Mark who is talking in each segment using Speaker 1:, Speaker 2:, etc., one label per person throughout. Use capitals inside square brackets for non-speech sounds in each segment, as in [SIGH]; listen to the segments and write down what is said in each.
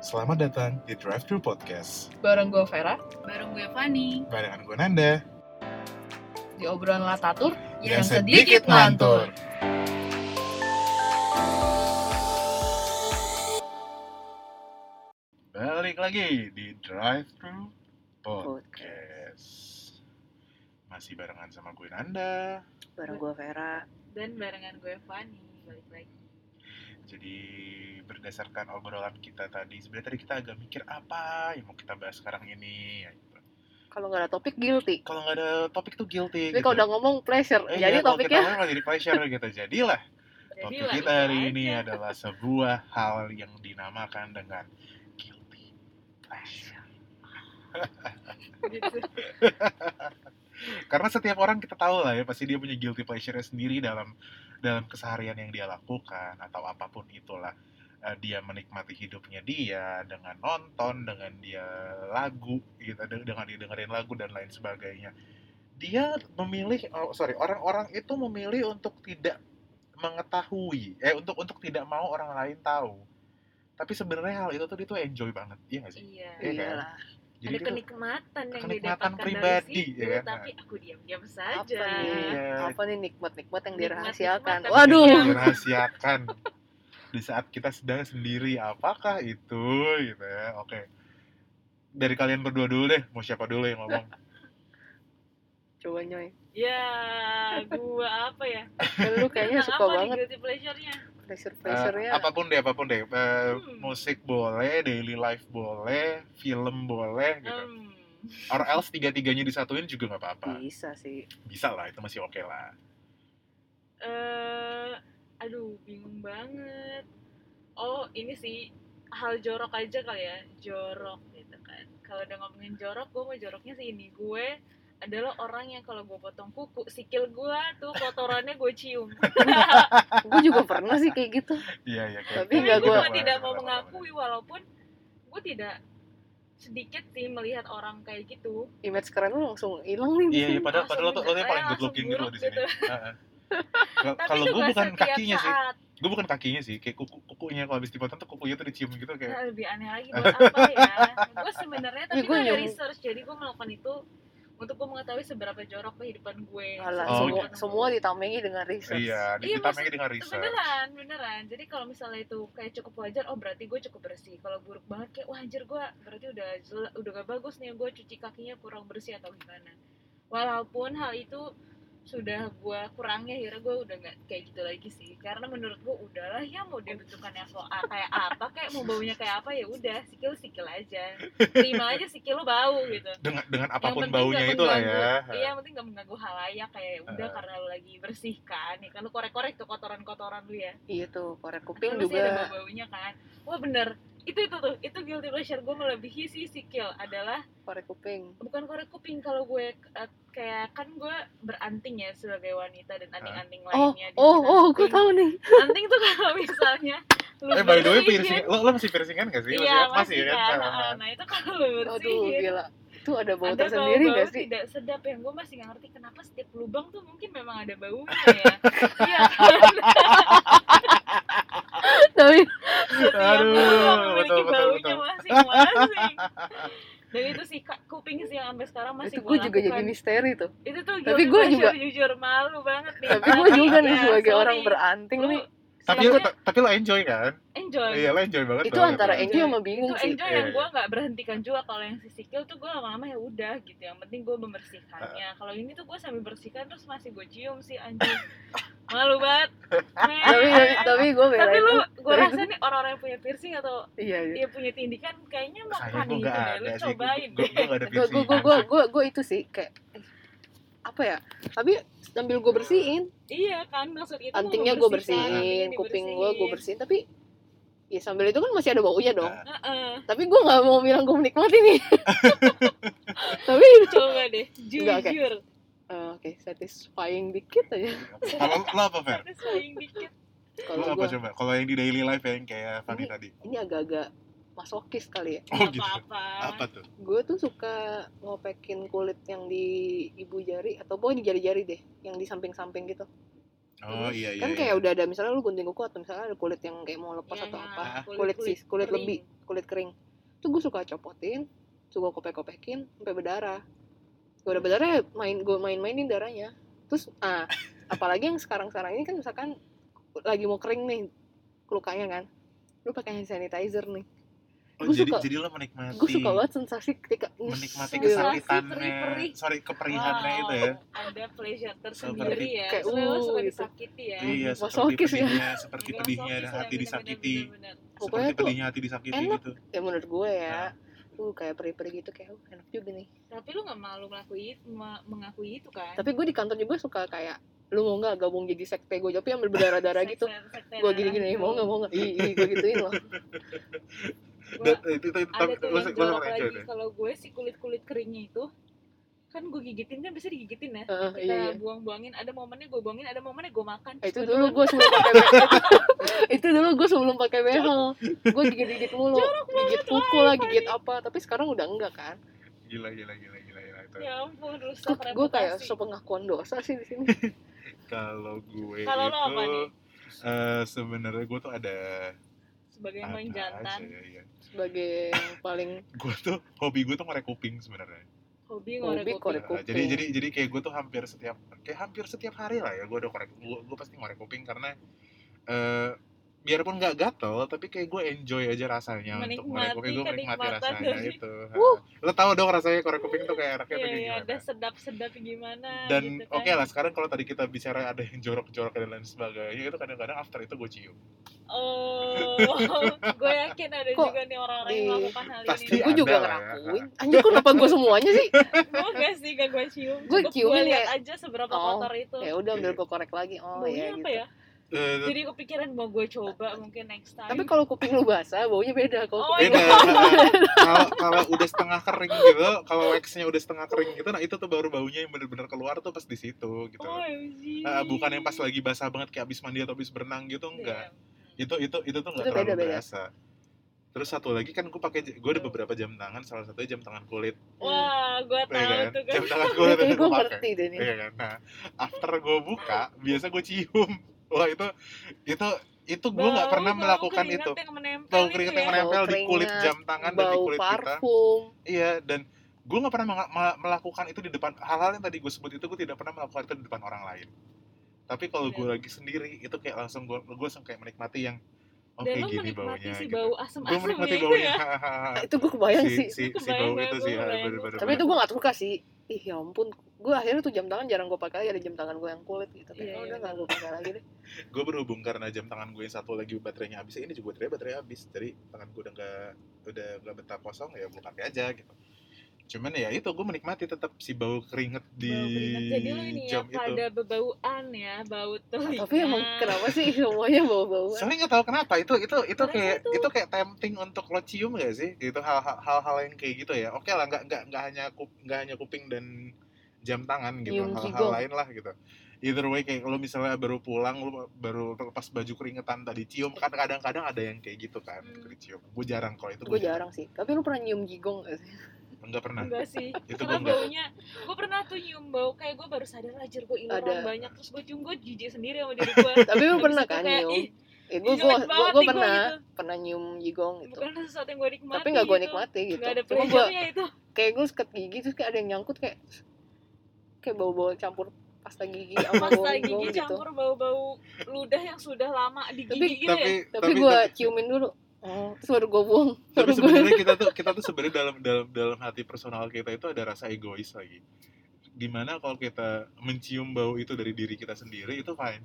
Speaker 1: Selamat datang di Drive Thru Podcast
Speaker 2: Bareng gue Vera,
Speaker 3: Bareng gue Fani.
Speaker 1: barengan gue Nanda
Speaker 2: di obrolan Latatur
Speaker 1: yang sedikit ngantur. Balik lagi di Drive Thru Podcast. Masih barengan sama gue Nanda.
Speaker 4: bareng
Speaker 3: Iya.
Speaker 4: gue Vera
Speaker 3: Dan barengan gue Fani. Balik lagi.
Speaker 1: Jadi berdasarkan obrolan kita tadi, sebenarnya tadi kita agak mikir apa yang mau kita bahas sekarang ini. ya gitu.
Speaker 4: kalau nggak ada topik guilty
Speaker 1: Kalau nggak ada topik tuh guilty.
Speaker 4: tapi kalau udah ngomong pleasure
Speaker 1: Eh, gitu. iya,
Speaker 4: jadi
Speaker 1: kalau
Speaker 4: topiknya
Speaker 1: kita ngomong malah jadi pleasure gitu. Jadilah Topik
Speaker 3: lah,
Speaker 1: kita hari
Speaker 3: aja.
Speaker 1: ini ya. adalah sebuah hal yang dinamakan dengan guilty pleasure.
Speaker 3: Gitu.
Speaker 1: Karena setiap orang kita tahu lah ya pasti dia punya guilty pleasure sendiri dalam dalam keseharian yang dia lakukan atau apapun itulah Eh, dia menikmati hidupnya dia dengan nonton dengan dia lagu gitu de- dengan dia dengerin lagu dan lain sebagainya dia memilih oh, sorry orang-orang itu memilih untuk tidak mengetahui eh untuk untuk tidak mau orang lain tahu tapi sebenarnya hal itu tuh dia tuh enjoy banget iya nggak sih
Speaker 3: Iya.
Speaker 1: Iya kan?
Speaker 4: iyalah
Speaker 1: Jadi
Speaker 3: ada
Speaker 1: dia tuh-
Speaker 3: kenikmatan yang
Speaker 1: kenikmatan
Speaker 3: didapatkan
Speaker 1: pribadi,
Speaker 3: dari situ,
Speaker 1: ya kan?
Speaker 3: tapi aku diam-diam
Speaker 4: apa
Speaker 3: saja.
Speaker 4: nih
Speaker 1: Iya.
Speaker 4: apa nih nikmat nikmat yang
Speaker 3: Nikmat-nikmat
Speaker 4: dirahasiakan
Speaker 3: yang
Speaker 4: waduh
Speaker 1: Yang dirahasiakan di saat kita sedang sendiri apakah itu gitu ya oke dari kalian berdua dulu deh mau siapa dulu yang
Speaker 3: [LAUGHS]
Speaker 1: ngomong
Speaker 4: coba nyoy
Speaker 3: Ya, gue apa ya?
Speaker 4: kan lu kayaknya
Speaker 3: Tentang
Speaker 4: suka
Speaker 3: apa nih
Speaker 4: banget
Speaker 3: guilty pleasure-nya?
Speaker 4: pleasure
Speaker 1: Eh,
Speaker 4: pleasurenya
Speaker 3: ya.
Speaker 1: apapun deh apapun deh Eh,
Speaker 3: Hmm.
Speaker 1: musik boleh daily life boleh film boleh gitu
Speaker 3: Hmm.
Speaker 1: or else tiga tiganya disatuin juga nggak apa-apa
Speaker 3: Iya.
Speaker 4: bisa sih
Speaker 1: bisa lah itu masih oke lah
Speaker 3: Eh, aduh, bingung banget. Oh, ini sih hal jorok aja kali ya, jorok gitu kan. Kalau udah ngomongin jorok, gue mau joroknya sih ini gue adalah orang yang kalau gue potong kuku, sikil gue tuh kotorannya gue cium.
Speaker 4: gue juga pernah sih kayak gitu
Speaker 1: iya iya kayak-
Speaker 4: Tapi nggak
Speaker 3: Tapi gue
Speaker 4: gua-
Speaker 3: tidak mau mengakui walaupun gue tidak sedikit sih melihat orang kayak gitu.
Speaker 4: image keren lu langsung hilang nih
Speaker 1: iya iya padahal padahal lo tuh lo tuh yang
Speaker 3: Langsung-
Speaker 1: paling good
Speaker 3: langsung
Speaker 1: looking gitu loh di sini
Speaker 3: buruk
Speaker 1: Heeh. Kalau-
Speaker 3: [LAUGHS] Tapi
Speaker 1: kalau
Speaker 3: itu
Speaker 1: gue
Speaker 3: nggak
Speaker 1: bukan
Speaker 3: setiap
Speaker 1: kakinya sih
Speaker 3: saat.
Speaker 1: gue bukan kakinya sih kayak kuku kukunya kalau habis dipotong tuh kukunya tuh dicium gitu kayak
Speaker 3: Nah, lebih aneh lagi buat apa ya? gue sebenarnya tapi
Speaker 4: Ya,
Speaker 3: gue
Speaker 4: gua
Speaker 3: ada
Speaker 4: nyium.
Speaker 3: research jadi gue melakukan itu untuk gue mengetahui seberapa jorok kehidupan gue.
Speaker 4: Alah,
Speaker 1: Oh,
Speaker 4: semua,
Speaker 1: gitu.
Speaker 4: semua ditamengi dengan research
Speaker 1: iya
Speaker 3: Iya,
Speaker 1: ditambah
Speaker 3: maksud-
Speaker 1: dengan
Speaker 3: Itu
Speaker 1: riset
Speaker 3: beneran beneran. Jadi kalau misalnya itu kayak cukup wajar, oh berarti gue cukup bersih. Kalau buruk banget kayak wah anjir gue berarti udah jela- udah gak bagus nih gue cuci kakinya kurang bersih atau gimana. Walaupun hal itu sudah gue kurangnya akhirnya gue udah nggak kayak gitu lagi sih karena menurut gue udahlah ya mau dia bentukannya so- ah, kayak apa kayak mau baunya kayak apa ya udah sikil sikil aja terima aja sikil lo bau gitu
Speaker 1: dengan dengan
Speaker 3: yang
Speaker 1: apapun
Speaker 3: penting
Speaker 1: baunya
Speaker 3: nggak
Speaker 1: itulah ya
Speaker 3: mengganggu- Iya, yang penting gak mengganggu halayak kayak ya udah
Speaker 1: Eh.
Speaker 3: karena lu lagi bersihkan nih kan lu korek-korek tuh kotoran-kotoran lu ya.
Speaker 4: iya tuh korek
Speaker 3: Kan
Speaker 4: kuping
Speaker 3: pasti ada
Speaker 4: juga
Speaker 3: bau-baunya kan. Wah, bener. Itu itu tuh, itu guilty pleasure gue melebihi si sikil adalah
Speaker 4: korek kuping
Speaker 3: bukan korek kuping kalau gue eh, kayak kan gue beranting ya sebagai wanita dan anting-anting
Speaker 4: oh
Speaker 3: lainnya di
Speaker 4: oh
Speaker 3: sekitar
Speaker 4: oh gue
Speaker 3: kuping.
Speaker 4: tahu nih
Speaker 3: Anting tuh kalau misalnya lu
Speaker 1: eh by the way
Speaker 3: bersihin-
Speaker 1: piercing lo lo masih piercingan gak sih
Speaker 3: Iya, masih
Speaker 1: ya
Speaker 3: kan.
Speaker 1: Ah,
Speaker 3: Nah,
Speaker 1: ah.
Speaker 3: Nah, itu kalau lu
Speaker 4: aduh
Speaker 3: bersihin
Speaker 4: gila itu ada bau
Speaker 3: iya. ada
Speaker 4: tersendiri
Speaker 3: bau-bau
Speaker 4: gak sih
Speaker 3: tidak sedap yang gue masih nggak ngerti kenapa setiap lubang tuh mungkin memang ada baunya
Speaker 4: [LAUGHS]
Speaker 3: ya iya [LAUGHS] kan?
Speaker 4: tapi
Speaker 3: Setiap
Speaker 1: Aduh,
Speaker 3: lubang
Speaker 1: betul,
Speaker 3: memiliki gitu.
Speaker 1: betul,
Speaker 3: baunya
Speaker 1: betul.
Speaker 3: masing-masing dan itu sih ka- kuping sih yang sampai sekarang masih
Speaker 4: itu gue
Speaker 3: gua
Speaker 4: juga jadi
Speaker 3: lakukan.
Speaker 4: misteri tuh
Speaker 3: itu tuh
Speaker 4: Tapi
Speaker 3: guilty
Speaker 4: gua
Speaker 3: pleasure,
Speaker 4: juga-
Speaker 3: jujur malu banget nih
Speaker 4: tapi gue juga nih
Speaker 3: Ya,
Speaker 4: sebagai
Speaker 3: sorry.
Speaker 4: orang beranting
Speaker 3: Lu
Speaker 4: nih
Speaker 1: tapi
Speaker 3: Maksudnya-
Speaker 1: ta- tapi lo enjoy kan
Speaker 3: enjoy
Speaker 1: iya lo enjoy banget
Speaker 4: itu
Speaker 1: dong,
Speaker 4: antara
Speaker 1: gitu.
Speaker 4: enjoy sama
Speaker 3: itu
Speaker 4: bingung sih
Speaker 3: enjoy
Speaker 1: Iya,
Speaker 3: yang
Speaker 1: iya.
Speaker 3: gue nggak berhentikan juga kalau yang sisi kill tuh gue lama-lama ya udah gitu yang penting gue membersihkannya
Speaker 1: Ah.
Speaker 3: kalau ini tuh gue sambil bersihkan terus masih gue cium sih anjing malu
Speaker 1: [LAUGHS]
Speaker 3: banget Men.
Speaker 4: tapi tapi gue
Speaker 3: tapi
Speaker 4: belain
Speaker 3: lu
Speaker 4: tuh.
Speaker 3: gue
Speaker 4: Tapi
Speaker 3: rasa nih orang-orang yang punya piercing atau
Speaker 4: iya iya
Speaker 3: ya punya tindikan kayaknya
Speaker 1: sayang
Speaker 3: makan
Speaker 1: gue
Speaker 3: gitu
Speaker 1: gak
Speaker 3: deh lu
Speaker 1: ada sih
Speaker 3: cobain
Speaker 1: gue
Speaker 3: deh [LAUGHS]
Speaker 1: gue gak ada
Speaker 4: gue gue
Speaker 1: piercingan
Speaker 4: gue gue itu sih kayak ih, apa ya tapi sambil gue bersihin
Speaker 3: iya kan maksud itu lu
Speaker 4: antingnya gue
Speaker 3: membersihkan,
Speaker 4: bersihin
Speaker 3: antingnya
Speaker 4: kuping gue
Speaker 3: dibersihin.
Speaker 4: gue bersihin tapi ya sambil itu kan masih ada baunya dong
Speaker 1: Ah.
Speaker 3: Heeh,
Speaker 4: tapi gue nggak mau bilang gue menikmati
Speaker 1: [LAUGHS]
Speaker 4: nih tapi
Speaker 3: coba
Speaker 4: [LAUGHS]
Speaker 3: deh
Speaker 4: Enggak, oke.
Speaker 3: jujur
Speaker 4: eh, oke satisfying dikit aja
Speaker 1: kalau lo apa Fer?
Speaker 3: satisfying dikit
Speaker 1: lo
Speaker 4: kalau
Speaker 1: apa
Speaker 4: gue
Speaker 1: coba? kalau yang di daily life ya, yang kayak Fanny tadi
Speaker 4: ini agak-agak masokis kali ya
Speaker 1: oh
Speaker 3: Nggak
Speaker 1: gitu
Speaker 3: apa-apa
Speaker 1: apa tuh?
Speaker 4: gue tuh suka ngopekin kulit yang di ibu jari atau pokoknya di jari-jari deh yang di samping-samping gitu
Speaker 1: oh iya iya
Speaker 4: kan kayak udah ada misalnya lu gunting kuku atau misalnya ada kulit yang kayak mau lepas
Speaker 3: Iya,
Speaker 4: atau
Speaker 3: iya.
Speaker 4: apa
Speaker 1: Ah,
Speaker 4: kulit sis kulit
Speaker 3: kering.
Speaker 4: lebih kulit kering tuh gue suka copotin suka kopek-kopekin sampai berdarah gue udah berdarah ya main gue main-mainin darahnya terus
Speaker 1: [LAUGHS]
Speaker 4: ah apalagi yang sekarang-sekarang ini kan misalkan lagi mau kering nih lukanya kan lu pakai hand sanitizer nih
Speaker 1: oh,
Speaker 4: gua
Speaker 1: jadi
Speaker 4: suka-
Speaker 1: jadi lo menikmati
Speaker 4: gue suka banget sensasi ketika
Speaker 1: menikmati
Speaker 4: Nyes,
Speaker 3: Sensasi
Speaker 4: gitu.
Speaker 1: kesakitannya
Speaker 3: perih-perih.
Speaker 1: sorry keperihannya
Speaker 3: Wow,
Speaker 1: itu ya
Speaker 3: ada pleasure tersendiri
Speaker 1: Seperti
Speaker 3: ya
Speaker 4: kayak,
Speaker 3: Soalnya lo
Speaker 4: uh,
Speaker 3: suka
Speaker 4: gitu.
Speaker 3: disakiti ya
Speaker 1: iya seperti
Speaker 4: Masokis ya.
Speaker 1: pedihnya seperti
Speaker 3: Nggak
Speaker 1: pedihnya
Speaker 3: sofis ya,
Speaker 1: hati
Speaker 3: bener-bener,
Speaker 1: disakiti
Speaker 3: bener-bener.
Speaker 1: seperti
Speaker 4: Pokoknya tuh
Speaker 1: pedihnya hati disakiti
Speaker 4: enak.
Speaker 1: gitu
Speaker 4: ya menurut gue ya uh kayak perih-perih gitu kayak uh, enak juga nih
Speaker 3: tapi lu nggak malu melakui me- mengakui itu kan
Speaker 4: tapi gue di kantor juga suka kayak lu mau nggak gabung jadi sekte gue tapi
Speaker 3: [LAUGHS]
Speaker 4: ambil berdarah-darah gitu gue gini-gini mau
Speaker 3: gitu.
Speaker 4: nggak mau nggak Ih, ih, gue gituin loh
Speaker 1: Dan eh, itu itu itu
Speaker 3: ada
Speaker 1: tapi
Speaker 3: tuh
Speaker 1: lo
Speaker 3: yang
Speaker 1: lo
Speaker 3: jorok
Speaker 1: suka yang
Speaker 3: lagi
Speaker 1: cewek
Speaker 3: kalau gue sih kulit kulit keringnya itu kan gue gigitin kan bisa digigitin ya
Speaker 4: Heeh,
Speaker 3: kita
Speaker 4: iya, iya.
Speaker 3: buang-buangin ada momennya gue buangin ada momennya gue makan
Speaker 4: Eh,
Speaker 3: Terus
Speaker 4: itu dulu
Speaker 3: tiba-tiba
Speaker 4: gue sebelum pakai
Speaker 3: [LAUGHS]
Speaker 4: behel itu dulu gue sebelum pakai behel gue gigit gigit mulu gigit kuku lah gigit apa tapi sekarang udah enggak kan
Speaker 1: gila gila gila gila gila itu
Speaker 3: ya ampun rusak
Speaker 4: gue kayak
Speaker 3: reputasi.
Speaker 4: sepengakuan dosa sih di sini
Speaker 1: kalau gue
Speaker 3: Kalau lo apa
Speaker 1: itu
Speaker 3: nih?
Speaker 1: eh, sebenarnya gue tuh ada
Speaker 3: sebagai yang paling
Speaker 1: apa aja
Speaker 3: jantan
Speaker 1: ya, ya.
Speaker 4: sebagai yang paling
Speaker 1: gue tuh hobi gue tuh ngorek kuping sebenarnya
Speaker 3: hobi ngorek
Speaker 4: hobi korek
Speaker 3: kuping
Speaker 1: Nah,
Speaker 4: kuping
Speaker 1: jadi jadi jadi kayak gue tuh hampir setiap kayak hampir setiap hari lah ya gue udah korek gue gue pasti ngorek kuping karena eh biarpun nggak gatel tapi kayak gue enjoy aja rasanya untuk ngorek
Speaker 3: Menikmati
Speaker 1: kuping gue menikmati
Speaker 3: kenikmatan
Speaker 1: rasanya
Speaker 3: dari- [LAUGHS]
Speaker 1: itu
Speaker 4: Wuh.
Speaker 1: lo tau dong rasanya korek kuping tuh kayak enaknya
Speaker 3: Iya,
Speaker 1: tuh kayak
Speaker 3: iya,
Speaker 1: gimana
Speaker 3: ada sedap-sedap gimana
Speaker 1: dan
Speaker 3: gitu kan.
Speaker 1: oke lah sekarang kalau tadi kita bicara ada yang jorok-jorok dan lain sebagainya itu kadang-kadang after itu gue cium
Speaker 3: Oh, [LAUGHS] gue yakin ada
Speaker 4: Kok
Speaker 3: juga nih orang-orang yang
Speaker 4: di-
Speaker 3: melakukan hal
Speaker 1: Pasti
Speaker 3: ini.
Speaker 4: gue juga
Speaker 1: ada lah ya.
Speaker 4: ngelakuin anjir kok kenapa gue semuanya
Speaker 3: [LAUGHS]
Speaker 4: sih
Speaker 3: Gue gak sih, gak gue cium.
Speaker 4: Gue
Speaker 3: Cukup
Speaker 4: ciumin
Speaker 3: lihat
Speaker 4: kayak-
Speaker 3: aja seberapa
Speaker 4: Oh,
Speaker 3: kotor itu.
Speaker 4: ya udah ambil gue korek lagi oh
Speaker 3: Baunya
Speaker 4: ya
Speaker 3: apa
Speaker 4: gitu
Speaker 3: ya?
Speaker 1: Eh,
Speaker 3: Jadi kepikiran mau gue coba mungkin next time.
Speaker 4: tapi kalau kuping lu basah baunya beda kalau
Speaker 3: Oh,
Speaker 4: kuping
Speaker 1: beda [LAUGHS]
Speaker 4: lu-
Speaker 1: kalau kalau udah setengah kering gitu kalau waxnya udah setengah kering gitu nah itu tuh baru baunya yang bener-bener keluar tuh pas di situ gitu
Speaker 3: OMG.
Speaker 1: Eh, bukan yang pas lagi basah banget kayak abis mandi atau abis berenang gitu
Speaker 3: Iya.
Speaker 1: enggak
Speaker 3: Damn.
Speaker 1: itu itu itu tuh nggak
Speaker 4: Itu
Speaker 1: terlalu
Speaker 4: beda-beda.
Speaker 1: berasa terus satu lagi kan gue pakai gue ada beberapa jam tangan salah satunya jam tangan kulit
Speaker 3: Wah, gue
Speaker 1: Iya
Speaker 3: tahu
Speaker 1: kan?
Speaker 3: tuh kan.
Speaker 1: jam tangan
Speaker 4: [LAUGHS]
Speaker 1: kulit
Speaker 4: Kayaknya
Speaker 1: itu
Speaker 4: gue
Speaker 1: gua pakai.
Speaker 4: Iya, ngerti deh nih
Speaker 1: Iya kan? Nah, after gue buka, biasa gue cium. [LAUGHS] Wah itu, itu, itu gue nggak
Speaker 3: Bau-
Speaker 1: pernah
Speaker 3: bau
Speaker 1: melakukan
Speaker 3: keringat
Speaker 1: itu.
Speaker 3: Yang menempel
Speaker 1: Bau
Speaker 3: itu
Speaker 1: keringat
Speaker 3: ya.
Speaker 1: yang menempel di
Speaker 4: Bau
Speaker 1: kulit
Speaker 4: keringat,
Speaker 1: jam tangan dan di
Speaker 4: bau
Speaker 1: kulit kita.
Speaker 4: parfum
Speaker 1: Iya, dan gue nggak pernah menga- me- melakukan itu di depan hal-hal yang tadi gue sebut itu gue tidak pernah melakukan itu di depan orang lain. Tapi kalau gue lagi sendiri itu kayak langsung gue gue langsung kayak menikmati yang oke
Speaker 3: Dan lu
Speaker 1: gini
Speaker 3: menikmati
Speaker 1: baunya.
Speaker 3: si
Speaker 1: gitu.
Speaker 3: bau
Speaker 1: Gue
Speaker 3: asem-asemnya
Speaker 1: menikmati
Speaker 3: itu [LAUGHS]
Speaker 1: baunya.
Speaker 3: ya.
Speaker 4: Ah, itu gue kebayang
Speaker 1: si,
Speaker 4: sih
Speaker 1: si,
Speaker 3: Itu
Speaker 1: si bau
Speaker 3: kebayang
Speaker 1: itu
Speaker 3: gue,
Speaker 1: sih, ya,
Speaker 3: kebayang gue.
Speaker 1: bener-bener.
Speaker 4: tapi itu gue gak suka sih ih ya ampun gue akhirnya tuh jam tangan jarang gue pakai lagi ada jam tangan gue yang kulit gitu
Speaker 3: Iya,
Speaker 4: kayak oh,
Speaker 3: iya,
Speaker 4: udah gak gue pakai lagi deh
Speaker 1: gue berhubung karena jam tangan gue yang satu lagi baterainya habis ini juga baterai baterai habis jadi tangan gue udah nggak udah nggak betah kosong ya gue pakai aja gitu cuman ya itu gue menikmati tetap si bau keringet di
Speaker 3: Bau keringat. Jadi lu ini ya
Speaker 1: jam itu
Speaker 3: pada bebauan ya, bau telinga.
Speaker 4: Ah, tapi emang kenapa sih semuanya bau-bauan
Speaker 1: soalnya nggak tahu kenapa itu itu itu
Speaker 3: Karena
Speaker 1: kayak
Speaker 3: itu-
Speaker 1: itu kayak tempting untuk lo cium gak sih gitu hal-hal hal-hal yang kayak gitu ya oke lah nggak nggak nggak hanya kup- nggak hanya kuping dan jam tangan gitu
Speaker 4: Nyium
Speaker 1: hal-hal
Speaker 4: jigong.
Speaker 1: lain lah gitu either way kayak lo misalnya baru pulang lo baru lepas baju keringetan tadi cium kan kadang-kadang ada yang kayak gitu kan
Speaker 3: Hmm.
Speaker 1: gitu dicium gue jarang kalau itu
Speaker 4: gue jarang sih tapi lu pernah nyium gigong gak sih
Speaker 1: nggak pernah
Speaker 3: Enggak sih.
Speaker 1: Nah, [LAUGHS] Itu
Speaker 3: Karena
Speaker 1: gua enggak.
Speaker 3: baunya, gue pernah tuh nyium bau kayak gue baru sadar anjir gue ilmu
Speaker 4: Ada.
Speaker 3: banyak terus gue cium gue jijik sendiri sama diri gue.
Speaker 4: tapi [LAUGHS] lu
Speaker 3: [LAUGHS] Habis
Speaker 4: pernah
Speaker 3: itu
Speaker 4: kan
Speaker 3: kayak,
Speaker 4: nyium
Speaker 3: "Ih,
Speaker 4: eh, gue
Speaker 3: jelek banget
Speaker 4: gue gue
Speaker 3: nih gua
Speaker 4: pernah
Speaker 3: gitu.
Speaker 4: pernah nyium gigong gitu
Speaker 3: Bukan sesuatu yang gue nikmati.
Speaker 4: tapi nggak gue
Speaker 3: gitu.
Speaker 4: nikmati gitu
Speaker 3: Nggak ada
Speaker 4: cuma gue
Speaker 3: pleasure-nya
Speaker 4: [LAUGHS]
Speaker 3: itu.
Speaker 4: kayak gue seket gigi terus kayak ada yang nyangkut kayak kayak bau-bau campur pasta
Speaker 3: [LAUGHS]
Speaker 4: gigi sama
Speaker 3: Pas
Speaker 4: bau
Speaker 3: lagi
Speaker 4: gigong
Speaker 3: gigi
Speaker 4: gitu
Speaker 3: campur bau-bau ludah yang sudah lama di gigi
Speaker 4: Tapi-
Speaker 3: gitu ya.
Speaker 4: tapi gue ciumin dulu oh, terus baru gue buang
Speaker 1: tapi
Speaker 4: baru gue [LAUGHS]
Speaker 1: sebenarnya kita tuh kita tuh sebenarnya dalam dalam dalam hati personal kita itu ada rasa egois lagi dimana kalau kita mencium bau itu dari diri kita sendiri itu fine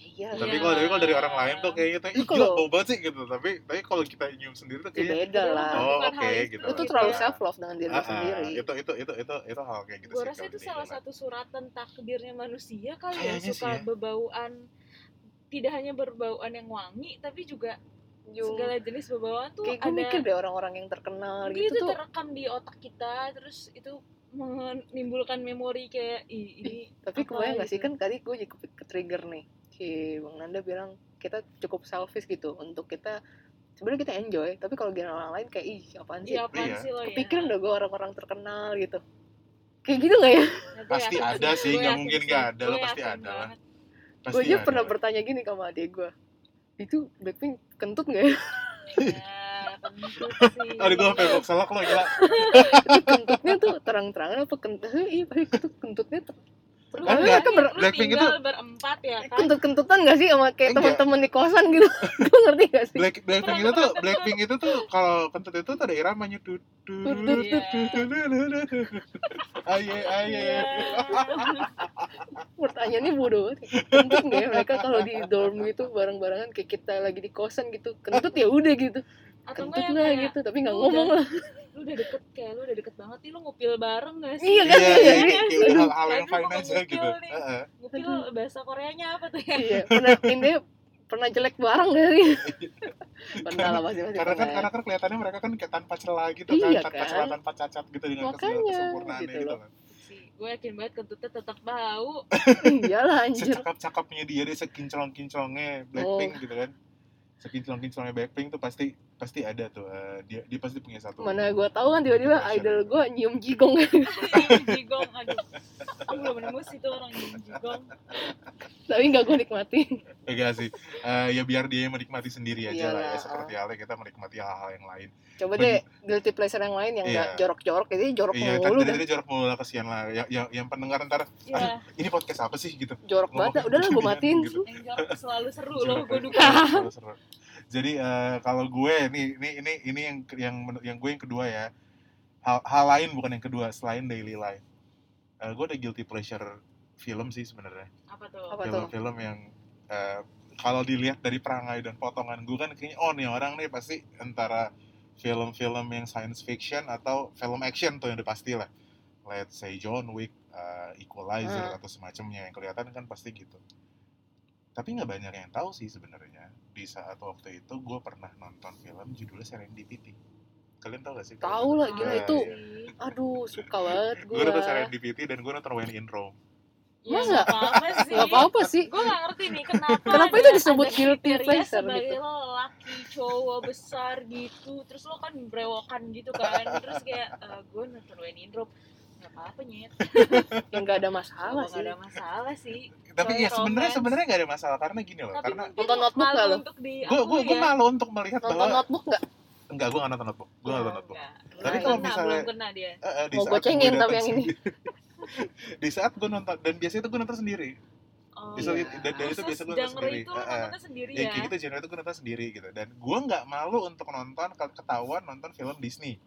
Speaker 4: iya
Speaker 1: tapi
Speaker 3: Iya.
Speaker 1: kalau dari kalau dari orang lain tuh kayaknya tuh
Speaker 4: Tapi
Speaker 1: "Ih, gila
Speaker 4: kalau-
Speaker 1: bau banget sih gitu tapi tapi kalau kita nyium sendiri tuh
Speaker 4: ya
Speaker 1: kayaknya
Speaker 4: beda
Speaker 3: Padahal
Speaker 4: lah
Speaker 3: bukan
Speaker 1: Oh,
Speaker 3: hal
Speaker 1: oke,
Speaker 3: itu
Speaker 1: gitu.
Speaker 4: lu tuh terlalu
Speaker 1: ya.
Speaker 4: self love dengan
Speaker 1: "Ah,
Speaker 4: diri
Speaker 1: ah,
Speaker 4: lu iya, sendiri
Speaker 1: itu itu itu itu itu hal kayak gitu
Speaker 3: gue
Speaker 1: sih,
Speaker 3: rasa
Speaker 1: kalau
Speaker 3: itu
Speaker 1: di
Speaker 3: salah
Speaker 1: jalan.
Speaker 3: satu suratan takdirnya manusia kali ya
Speaker 1: Kayaknya sih
Speaker 3: suka
Speaker 1: ya.
Speaker 3: bebauan tidak hanya berbauan yang wangi tapi juga
Speaker 4: Yung-
Speaker 3: segala jenis bebauan tuh
Speaker 4: kayak gue
Speaker 3: ada
Speaker 4: mikir deh orang-orang yang terkenal
Speaker 3: mungkin
Speaker 4: gitu
Speaker 3: itu
Speaker 4: tuh
Speaker 3: terekam di otak kita terus itu menimbulkan memori kayak "Ih,
Speaker 4: [LAUGHS]
Speaker 3: ini
Speaker 4: tapi
Speaker 3: apa
Speaker 4: kebayang gak sih
Speaker 3: gitu."
Speaker 4: kan tadi gue jadi ke- ke-trigger nih si bang Nanda bilang kita cukup selfish gitu untuk kita sebenarnya kita enjoy tapi kalau giliran orang lain kayak ih apaan sih
Speaker 3: iya
Speaker 1: Iya.
Speaker 3: apaan sih lo ya
Speaker 4: kepikiran udah gue orang-orang terkenal gitu kayak gitu gak ya
Speaker 3: Nah, gue
Speaker 1: Pasti
Speaker 3: yakin
Speaker 1: ada sih,
Speaker 3: gue
Speaker 1: nggak
Speaker 3: yakin
Speaker 1: mungkin
Speaker 3: sih.
Speaker 1: nggak ada lah,
Speaker 3: Gue
Speaker 1: pasti
Speaker 3: yakin
Speaker 1: ada lah.
Speaker 3: banget.
Speaker 1: Pasti
Speaker 4: gue aja
Speaker 1: ada.
Speaker 4: pernah bertanya gini sama adik gue itu Blackpink kentut gak
Speaker 3: [LAUGHS]
Speaker 4: ya?
Speaker 3: Ya, tentu sih.
Speaker 1: Aduh, gue sampai box selak lo, gila.
Speaker 4: Itu kentutnya tuh terang-terangan apa kentut? Iya, kentut kentutnya ter-
Speaker 3: Lu
Speaker 1: Kan
Speaker 3: bayangin,
Speaker 4: nggak-
Speaker 3: lu
Speaker 1: Blackpink itu-
Speaker 3: tinggal berempat ya kan?
Speaker 4: kentut-kentutan gak sih sama kayak
Speaker 1: Enggak.
Speaker 4: teman-teman di kosan gitu? [LAUGHS] Gue ngerti gak sih?
Speaker 1: Black Blackpink itu tuh Blackpink itu tuh kalau kentut itu tuh ada iramanya du du du du du du du du. aye aye
Speaker 3: Iya.
Speaker 4: Pertanyaannya bodoh banget. Kentut gak ya mereka kalau di dorm gitu bareng-barengan kayak kita lagi di kosan gitu. Kentut ya udah gitu.
Speaker 3: Atau enggak
Speaker 4: Kentut
Speaker 3: yang
Speaker 4: lah
Speaker 3: kayak,
Speaker 4: gitu, tapi gak
Speaker 3: udah.
Speaker 4: ngomong lah.
Speaker 3: lu udah deket kayak lu udah deket banget nih lu ngupil bareng gak sih?
Speaker 4: Iya kan?
Speaker 1: iya iya iya kayak udah
Speaker 4: Aduh.
Speaker 1: hal-hal yang
Speaker 3: Aduh,
Speaker 1: fine aja
Speaker 3: mengukil
Speaker 1: gitu
Speaker 3: nih.
Speaker 1: Heeh.
Speaker 3: Ngupil bahasa Koreanya apa tuh ya?
Speaker 4: Iya, pernah ini pernah jelek bareng gak
Speaker 1: [LAUGHS]
Speaker 4: sih? Pernah lah pasti pasti.
Speaker 1: karena kan
Speaker 4: pernah.
Speaker 1: karena kan kelihatannya mereka kan kayak tanpa celah gitu
Speaker 4: Iya
Speaker 1: kan tanpa
Speaker 4: kan?
Speaker 1: celah tanpa cacat gitu dengan kesel-
Speaker 4: Makanya,
Speaker 1: kesempurnaannya
Speaker 4: gitu
Speaker 1: gitu
Speaker 4: loh.
Speaker 1: kan
Speaker 3: Gue yakin banget kentutnya tetap bau.
Speaker 4: Iyalah Iya anjir.
Speaker 1: secakap-cakapnya dia dia sekinclong-kinclongnya
Speaker 4: Oh.
Speaker 1: Blackpink gitu kan sekinclong-kinclongnya Blackpink tuh pasti pasti ada tuh eh, dia dia pasti punya satu
Speaker 4: Mana gue tahu kan tiba-tiba idol gue nyium jigong [LAUGHS]
Speaker 3: jigong, aduh. Aku belum nemu sih tuh orang yang jigong.
Speaker 4: tapi nggak gue nikmatin.
Speaker 1: Ya gak sih Eh, ya biar dia yang menikmati sendiri aja lah ya
Speaker 4: Iyalah,
Speaker 1: seperti halnya kita menikmati hal-hal yang lain
Speaker 4: Coba
Speaker 1: Bagi-
Speaker 4: deh guilty pleasure yang lain yang
Speaker 1: Iya.
Speaker 4: nggak jorok-jorok jadi jorok
Speaker 1: Iya,
Speaker 4: mulu kan?
Speaker 1: tadi
Speaker 4: dah.
Speaker 1: tadi jorok mulu lah kesian lah. Yang, yang, yang pendengar ntar
Speaker 3: Iya,
Speaker 1: ini podcast apa sih gitu.
Speaker 4: Jorok banget. dah. Udah lah
Speaker 1: [LAUGHS]
Speaker 4: gue
Speaker 1: Ngomong
Speaker 4: matiin.
Speaker 1: gitu.
Speaker 3: yang jorok selalu seru loh,
Speaker 1: Jorok
Speaker 3: gue
Speaker 1: banget.
Speaker 3: duka. [LAUGHS]
Speaker 1: Seru, seru. Jadi eh, kalau gue nih ini ini ini yang yang men- yang gue yang kedua ya. Hal, hal lain bukan yang kedua selain daily life. Eh, gue ada guilty pleasure film sih sebenarnya.
Speaker 3: Apa tuh?
Speaker 4: Apa tuh?
Speaker 1: Film-film yang eh, kalau dilihat dari perangai dan potongan gue kan kayaknya oh nih orang nih pasti antara film-film yang science fiction atau film action tuh yang udah pasti lah. Let's say John Wick, eh, Equalizer
Speaker 4: Hmm.
Speaker 1: atau semacamnya yang kelihatan kan pasti gitu. Tapi nggak banyak yang tahu sih sebenarnya. Di saat waktu itu gue pernah nonton film judulnya Serendipity. Kalian tahu gak sih?
Speaker 4: Tahu lah gila
Speaker 1: Ah,
Speaker 4: itu.
Speaker 1: iya.
Speaker 4: Aduh suka banget
Speaker 1: Gue
Speaker 4: gue.
Speaker 1: nonton Serendipity dan gue nonton When in Rome.
Speaker 4: Masa?
Speaker 3: Masa? apa Iya, sih?
Speaker 4: Gak apa-apa sih.
Speaker 3: Gue gak ngerti nih kenapa
Speaker 4: [LAUGHS] Kenapa itu
Speaker 3: ada-
Speaker 4: disebut
Speaker 3: ada
Speaker 4: guilty
Speaker 3: kriteria
Speaker 4: pleasure
Speaker 3: sebagai
Speaker 4: gitu?
Speaker 3: lelaki cowok besar gitu Terus lo kan brewokan gitu kan Terus kayak eh, gue nonton Wayne Indrop Gak apa-apa nyet
Speaker 4: Yang ya nggak ada masalah
Speaker 3: Gak
Speaker 4: sih.
Speaker 3: ada masalah sih
Speaker 1: Tapi
Speaker 3: Soalnya
Speaker 1: ya sebenarnya
Speaker 3: romance.
Speaker 1: sebenarnya nggak ada masalah karena gini loh.
Speaker 3: Tapi
Speaker 1: karena
Speaker 3: mungkin
Speaker 4: Nonton notebook
Speaker 3: malu
Speaker 4: gak lo?
Speaker 3: untuk di ya.
Speaker 1: gue gue gue malu untuk melihat
Speaker 4: Nonton
Speaker 1: bahwa
Speaker 4: notebook nggak?
Speaker 1: enggak gue nggak nonton notebook gue
Speaker 3: Ya,
Speaker 1: nggak nonton notebook
Speaker 4: Tapi
Speaker 3: Tapi
Speaker 4: kalau
Speaker 3: kalau misalnya
Speaker 1: misalnya-
Speaker 3: Belum Iya, kena dia
Speaker 1: Eh, eh, di
Speaker 4: Mau
Speaker 1: saat
Speaker 4: gue cengin
Speaker 1: gua
Speaker 4: tapi
Speaker 1: datang
Speaker 4: yang ini.
Speaker 1: di saat gue nonton dan biasanya itu gue nonton sendiri
Speaker 3: Oh,
Speaker 1: Bisa
Speaker 4: di-
Speaker 3: iya.
Speaker 1: dan- dan itu
Speaker 3: Proses
Speaker 1: gitu biasa gua nonton
Speaker 3: genre
Speaker 1: sendiri.
Speaker 3: itu lo
Speaker 1: Ah, ah.
Speaker 3: nontonnya sendiri
Speaker 1: ya
Speaker 3: ya
Speaker 1: kayak gitu genre itu gue nonton sendiri gitu dan gue nggak malu untuk nonton kalau ketahuan nonton film Disney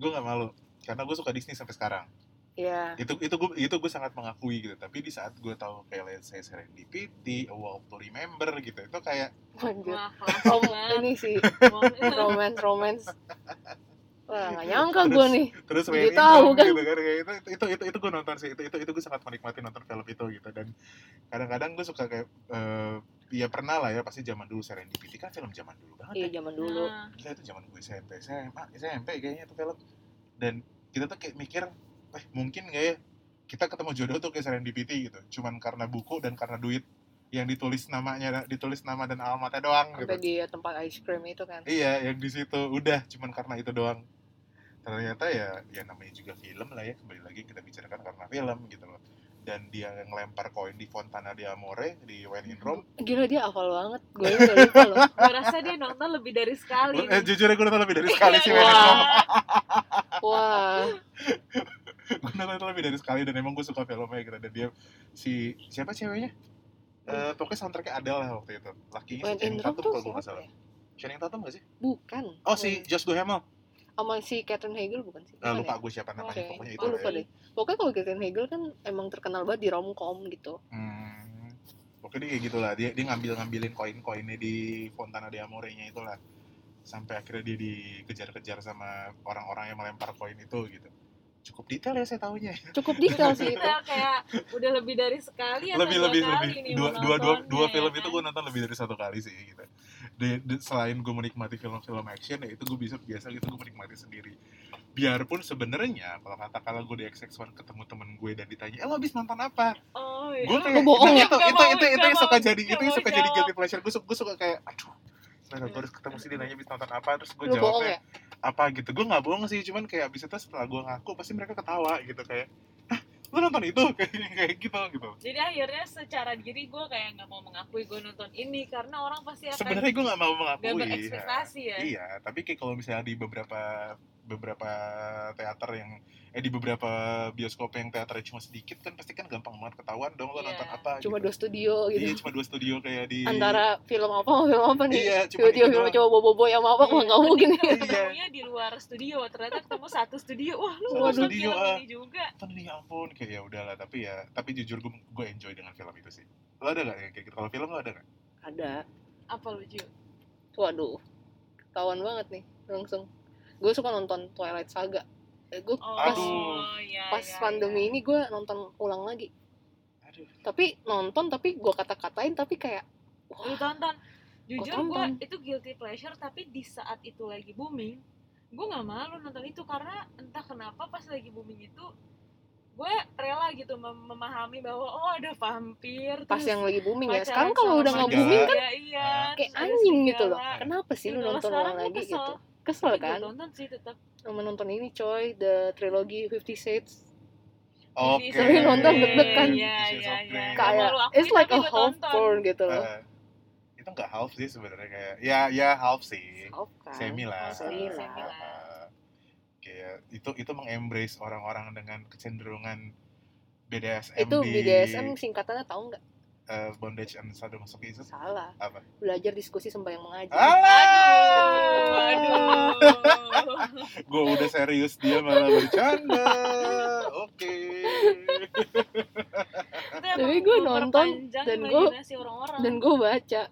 Speaker 1: gue nggak malu karena gue suka Disney sampai sekarang
Speaker 4: [LAUGHS] Iya.
Speaker 1: itu itu gue itu gue sangat mengakui gitu tapi di saat gue tahu kayak let's say Serendipity A Walk to Remember gitu itu kayak
Speaker 4: Lanjut.
Speaker 3: Wah, kelas
Speaker 4: Rom [LAUGHS]
Speaker 3: banget.
Speaker 4: ini sih
Speaker 3: Wah,
Speaker 4: romance romance. Wah nggak nyangka gue nih.
Speaker 1: terus
Speaker 4: Jadi
Speaker 1: Wayne
Speaker 4: tahu
Speaker 1: Ingram
Speaker 4: kan.
Speaker 1: gitu kan kayak itu itu itu, itu gue nonton sih itu itu itu gue sangat menikmati nonton film itu gitu dan kadang-kadang gue suka kayak eh, ya pernah lah ya pasti zaman dulu Serendipity kan film zaman dulu banget ya.
Speaker 4: Iya zaman dulu.
Speaker 3: Nah,
Speaker 1: Gila itu zaman gue SMP, SMA, SMP kayaknya itu film. Dan kita tuh kayak mikir, eh mungkin nggak ya kita ketemu jodoh tuh kayak serendipity gitu. Cuman karena buku dan karena duit yang ditulis namanya, ditulis nama dan alamatnya doang gitu.
Speaker 4: Sampai di tempat ice cream itu kan.
Speaker 1: Iya, yang di situ udah cuman karena itu doang. Ternyata ya ya namanya juga film lah ya, kembali lagi kita bicarakan karena film gitu loh. Dan dia ngelempar koin di Fontana di Amore di Wayne in Rome.
Speaker 4: Gila dia hafal banget. Gue nggak lupa loh.
Speaker 3: gue rasa dia nonton lebih dari sekali
Speaker 1: Eh,
Speaker 3: nih. Iya,
Speaker 1: jujur ya gue nonton
Speaker 4: [LAUGHS]
Speaker 1: lebih dari sekali sih Wayne in Rome.
Speaker 4: Iya, Wah. Wah.
Speaker 1: Iya, gue nonton lebih dari sekali dan emang gue suka filmnya gitu dan dia si siapa ceweknya Eh pokoknya soundtracknya ada lah waktu itu lakinya si
Speaker 4: When in
Speaker 1: Channing
Speaker 4: Rome
Speaker 1: Tatum
Speaker 4: tuh
Speaker 1: kalau gue nggak
Speaker 4: siapa
Speaker 1: salah
Speaker 4: ya? Iya.
Speaker 1: Channing Tatum nggak sih
Speaker 4: Bukan.
Speaker 1: oh si Josh Duhamel
Speaker 4: Sama si Catherine Hegel bukan sih?
Speaker 1: Eh,
Speaker 4: Bukan
Speaker 1: lupa
Speaker 4: ya?
Speaker 1: gue siapa namanya
Speaker 4: Oke.
Speaker 1: pokoknya itu
Speaker 4: Gue
Speaker 1: lah
Speaker 4: lupa
Speaker 1: ya.
Speaker 4: deh. Pokoknya kalau Catherine Hegel kan emang terkenal banget di romcom gitu.
Speaker 1: hmm, pokoknya dia kayak gitulah dia dia ngambil ngambilin koin koinnya di Fontana di Amore nya itulah sampai akhirnya dia dikejar-kejar sama orang-orang yang melempar koin itu gitu cukup detail ya saya tahunya [LAUGHS]
Speaker 4: Cukup detail sih
Speaker 3: [LAUGHS]
Speaker 4: itu.
Speaker 3: Kita kayak udah lebih dari sekali atau
Speaker 1: lebih
Speaker 3: dua
Speaker 1: lebih
Speaker 3: kali
Speaker 1: lebih
Speaker 3: nih
Speaker 1: dua
Speaker 3: menontonnya,
Speaker 1: dua dua, dua
Speaker 3: ya
Speaker 1: film
Speaker 3: kan?
Speaker 1: itu gue nonton lebih dari satu kali sih gitu Di- di- selain gue menikmati film-film action ya itu gue bisa biasa gitu gue menikmati sendiri biarpun sebenarnya kalau kata kalau gue di XX1 ketemu temen gue dan ditanya eh lo abis nonton apa
Speaker 3: Oh, iya.
Speaker 1: gue kayak
Speaker 4: Lu bohong
Speaker 1: itu
Speaker 4: ya?
Speaker 1: itu
Speaker 3: Nggak
Speaker 1: itu
Speaker 3: mau-
Speaker 1: itu, itu
Speaker 3: nggak
Speaker 1: yang
Speaker 3: mau-
Speaker 1: suka jadi
Speaker 3: nggak
Speaker 1: itu yang
Speaker 3: mau
Speaker 1: suka jadi
Speaker 3: jawab.
Speaker 1: guilty pleasure gue su- gue suka kayak aduh Sebenarnya gue harus ketemu sih dia nanya abis nonton apa terus gue
Speaker 4: Lu bohong
Speaker 1: jawabnya
Speaker 4: ya?
Speaker 1: apa gitu gue nggak bohong sih cuman kayak abis itu setelah gue ngaku pasti mereka ketawa gitu kayak "Hah, lu nonton itu [LAUGHS] kayak kayak gitu gitu
Speaker 3: Jadi akhirnya secara diri gue kayak nggak mau mengakui gue nonton ini karena orang pasti akan
Speaker 1: sebenarnya gue nggak mau
Speaker 3: gak
Speaker 1: mengakui
Speaker 3: kan? berekspektasi ya.
Speaker 1: iya tapi kayak kalau misalnya di beberapa beberapa teater yang eh di beberapa bioskop yang teaternya cuma sedikit kan pasti kan gampang banget ketahuan dong lo
Speaker 3: Iya.
Speaker 1: nonton apa
Speaker 4: cuma
Speaker 1: gitu.
Speaker 4: dua studio
Speaker 1: iya
Speaker 4: gitu
Speaker 1: cuma dua studio kayak di
Speaker 4: antara film apa sama film apa nih
Speaker 1: iya cuma
Speaker 4: tiba-tiba
Speaker 1: gitu
Speaker 4: film
Speaker 1: doang.
Speaker 4: coba bobo-bobo sama apa wah nggak mungkin ya?
Speaker 3: Tapi
Speaker 1: Iya.
Speaker 3: ketemunya di luar studio, ternyata ketemu satu studio. Wah, lu
Speaker 1: Satu
Speaker 3: nonton
Speaker 1: studio,
Speaker 3: film
Speaker 1: ah.
Speaker 3: ini juga.
Speaker 1: nonton ini ya ampun kayak ya udahlah tapi ya tapi jujur gue gue enjoy dengan film itu sih lo ada gak kayak gitu kalau film lo ada gak
Speaker 4: ada
Speaker 3: Apa lucu?
Speaker 4: waduh kawan banget nih langsung gue suka nonton Twilight Saga Eh, gue
Speaker 3: Oh,
Speaker 4: pas
Speaker 1: Aduh.
Speaker 3: iya,
Speaker 4: pas
Speaker 3: iya,
Speaker 4: pandemi
Speaker 3: iya.
Speaker 4: ini gue nonton ulang lagi
Speaker 1: aduh
Speaker 4: tapi nonton tapi gue kata-katain tapi kayak
Speaker 3: Lu tonton. Jujur gue
Speaker 4: tonton.
Speaker 3: itu guilty pleasure tapi di saat itu lagi booming, gue nggak malu nonton itu karena entah kenapa pas lagi booming itu gue rela gitu mem- memahami bahwa oh ada vampir
Speaker 4: pas
Speaker 3: terus
Speaker 4: yang lagi booming ya
Speaker 3: pacaran
Speaker 4: sekarang kalau
Speaker 3: sama
Speaker 4: udah nggak
Speaker 1: serigala.
Speaker 4: booming kan
Speaker 3: manusia, iya,
Speaker 4: kayak
Speaker 3: terus ada
Speaker 4: anjing gitu
Speaker 3: serigala.
Speaker 4: loh kenapa sih
Speaker 3: Iya,
Speaker 4: lu
Speaker 3: kalau
Speaker 4: nonton
Speaker 3: sekarang
Speaker 4: ulang
Speaker 3: gua
Speaker 4: lagi
Speaker 3: kesel.
Speaker 4: gitu kesel
Speaker 3: Tapi gua
Speaker 4: kan
Speaker 3: tonton sih tetap
Speaker 4: sama nonton ini coy the trilogy Fifty Shades
Speaker 1: oke
Speaker 4: Sorry, nonton deg-degan.
Speaker 3: Iya,
Speaker 1: Shades
Speaker 3: iya,
Speaker 1: of Grey.
Speaker 3: iya.
Speaker 1: Kayak-
Speaker 4: kayak
Speaker 3: malu akuin,
Speaker 4: it's like
Speaker 3: tapi
Speaker 4: a
Speaker 3: gua
Speaker 4: half
Speaker 3: tonton.
Speaker 4: porn gitu loh
Speaker 1: Eh, itu nggak half sih sebenarnya kayak ya ya half sih
Speaker 4: half kan
Speaker 1: semi lah
Speaker 4: Semi lah.
Speaker 1: Eh, kayak itu itu mengembrace orang-orang dengan kecenderungan BDSM
Speaker 4: itu
Speaker 1: di
Speaker 4: BDSM singkatannya tahu nggak
Speaker 1: eh, bondage and sadomasochism
Speaker 4: salah
Speaker 1: Apa?
Speaker 4: belajar diskusi sembah yang mengaji
Speaker 1: Alah!
Speaker 3: Aduh, aduh.
Speaker 1: Gue udah serius dia malah bercanda. Oke.
Speaker 3: Itu
Speaker 4: Tapi
Speaker 3: emang
Speaker 4: gua
Speaker 3: memperpanjang
Speaker 4: nonton, dan gua-
Speaker 3: imajinasi orang-orang.
Speaker 4: dan gue baca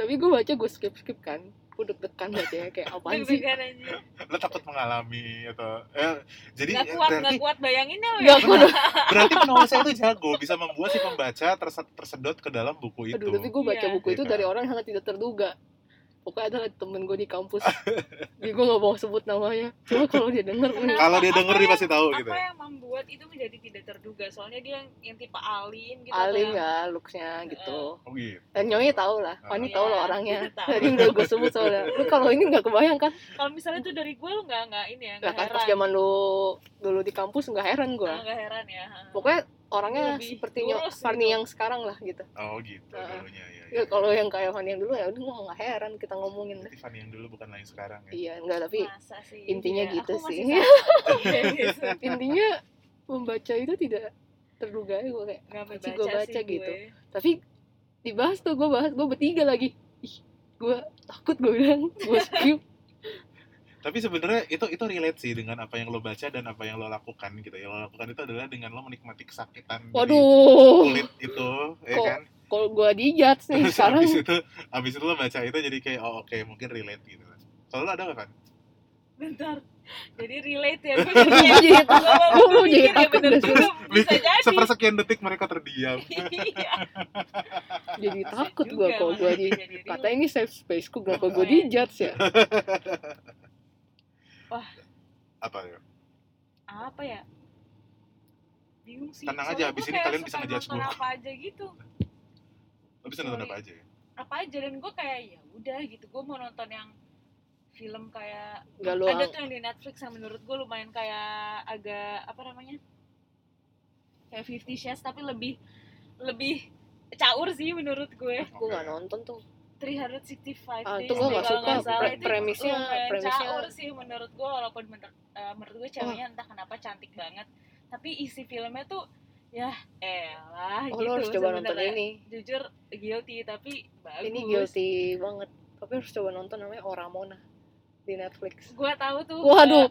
Speaker 4: tapi gue baca gue skip skip kan gue deg-degan baca ya, kayak apaan sih
Speaker 3: Deg-degan aja.
Speaker 1: Lo takut mengalami atau eh, jadi
Speaker 3: Nggak
Speaker 1: eh,
Speaker 3: kuat,
Speaker 1: berarti
Speaker 3: nggak kuat ya, bayanginnya
Speaker 4: Nggak
Speaker 3: weh.
Speaker 4: kuat.
Speaker 1: berarti penulisnya itu jago bisa membuat si pembaca terse- tersedot ke dalam buku itu.
Speaker 4: aduh tapi gue baca
Speaker 3: Iya.
Speaker 4: buku itu
Speaker 1: Iya.
Speaker 4: dari orang yang sangat tidak terduga pokoknya adalah temen gue di
Speaker 3: [LAUGHS]
Speaker 4: kampus jadi gue gak mau sebut namanya cuma kalau dia denger
Speaker 3: Kenapa?
Speaker 1: Kalau dia denger dia
Speaker 3: Apa
Speaker 4: ya?
Speaker 3: yang-
Speaker 1: pasti tahu gitu.
Speaker 3: Apa yang membuat itu menjadi tidak terduga? Soalnya dia yang, yang tipe alim gitu. atau
Speaker 4: alim
Speaker 3: yang-
Speaker 4: ya looksnya gitu
Speaker 1: Oh gitu.
Speaker 4: dan Nyoi tau lah
Speaker 1: Ah.
Speaker 4: Fani tau
Speaker 3: Iya,
Speaker 4: lah orangnya
Speaker 3: tahu.
Speaker 4: [LAUGHS] tadi udah gue sebut soalnya lu kalau ini gak kebayang kan
Speaker 3: Kalau misalnya itu dari gue lu nggak nggak ini ya,
Speaker 4: nah
Speaker 3: nggak
Speaker 4: kan
Speaker 3: heran.
Speaker 4: pas zaman lu dulu di kampus gak heran gue
Speaker 3: Nggak heran ya. ha.
Speaker 4: pokoknya orangnya
Speaker 3: Lebih
Speaker 4: sepertinya
Speaker 3: lurus
Speaker 4: Fani
Speaker 3: gitu.
Speaker 4: yang sekarang lah gitu
Speaker 1: Oh gitu
Speaker 4: Heeh.
Speaker 1: dulunya ya.
Speaker 4: ya kalau yang kayak Fani yang dulu ya udah gue gak heran kita ngomongin
Speaker 1: Berarti Fanny yang dulu bukan lain sekarang ya.
Speaker 4: iya enggak tapi
Speaker 3: Masa sih?
Speaker 4: intinya
Speaker 3: Iya,
Speaker 4: gitu
Speaker 3: aku masih
Speaker 4: [LAUGHS]
Speaker 3: sama.
Speaker 4: sih.
Speaker 3: Iya, gitu.
Speaker 4: intinya membaca itu tidak terduga ya gue kayak
Speaker 3: Nggak
Speaker 4: Pasti gua
Speaker 3: baca
Speaker 4: baca
Speaker 3: sih
Speaker 4: gitu.
Speaker 3: gue.
Speaker 4: tapi dibahas tuh gue bahas gue bertiga lagi ih gue takut gue bilang gue
Speaker 3: [LAUGHS]
Speaker 4: skip
Speaker 1: Tapi sebenarnya itu itu relate sih dengan apa yang lo baca dan apa yang lo lakukan gitu. Yang lo lakukan itu adalah dengan lo menikmati kesakitan dari
Speaker 4: waduh
Speaker 1: kulit itu, ya
Speaker 4: Kok-
Speaker 1: kan?
Speaker 4: kalau gue dijudge nih
Speaker 1: Terus
Speaker 4: sekarang
Speaker 1: abis itu, abis itu lo baca itu jadi kayak oh oke mungkin relate gitu. Kalau lo ada nggak kan?
Speaker 3: Bentar. Jadi relate
Speaker 4: [LAUGHS]
Speaker 3: ya. Gue
Speaker 4: [LAUGHS]
Speaker 3: [LAUGHS]
Speaker 4: Gua
Speaker 3: jadi
Speaker 4: jadi takut.
Speaker 3: Gue
Speaker 4: Gua jadi takut
Speaker 3: Oh, iya, bener
Speaker 4: dan
Speaker 3: juga bisa jadi. [LAUGHS]
Speaker 1: Sepersekian detik mereka terdiam.
Speaker 3: Iya.
Speaker 4: jadi
Speaker 3: Bisa
Speaker 4: takut
Speaker 3: juga
Speaker 4: gue kalau gue
Speaker 3: makanya
Speaker 4: di
Speaker 3: jadi relate.
Speaker 4: kata ini safe space gue bilang kalau gue
Speaker 3: Iya.
Speaker 4: dijudge ya
Speaker 1: Apa ya?
Speaker 3: apa ya? Bingung sih.
Speaker 1: Tenang aja,
Speaker 3: Soalnya
Speaker 1: abis
Speaker 3: gua
Speaker 1: ini
Speaker 3: kayak
Speaker 1: kalian
Speaker 3: suka
Speaker 1: bisa ngejudge
Speaker 3: nonton
Speaker 1: gua.
Speaker 3: apa aja gitu.
Speaker 1: Lo bisa nonton apa aja ya?
Speaker 3: Apa aja dan gue kayak ya udah gitu. Gue mau nonton yang film kayak
Speaker 4: Nggak lu
Speaker 3: ada
Speaker 4: ang-
Speaker 3: tuh yang di Netflix yang menurut gue lumayan kayak agak apa namanya kayak Fifty Shades tapi lebih lebih caur sih menurut gue
Speaker 4: gue gak nonton tuh
Speaker 3: 365
Speaker 4: Ah,
Speaker 3: days
Speaker 4: itu
Speaker 1: gua nggak
Speaker 3: deh, kalau
Speaker 1: suka.
Speaker 3: nggak salah.
Speaker 1: Pre-
Speaker 3: Itu
Speaker 4: premisnya-
Speaker 3: lumayan
Speaker 4: premisnya- Ah.
Speaker 3: caur sih menurut gue walaupun menur- eh, menurut gue ceweknya entah kenapa cantik banget tapi isi filmnya tuh ya elah
Speaker 4: oh
Speaker 3: gitu
Speaker 4: lo harus coba nonton
Speaker 3: sebenarnya.
Speaker 4: ini
Speaker 3: jujur guilty tapi bagus
Speaker 4: ini guilty banget tapi harus coba nonton namanya Oramona di Netflix
Speaker 3: gue tahu tuh
Speaker 4: Waduh,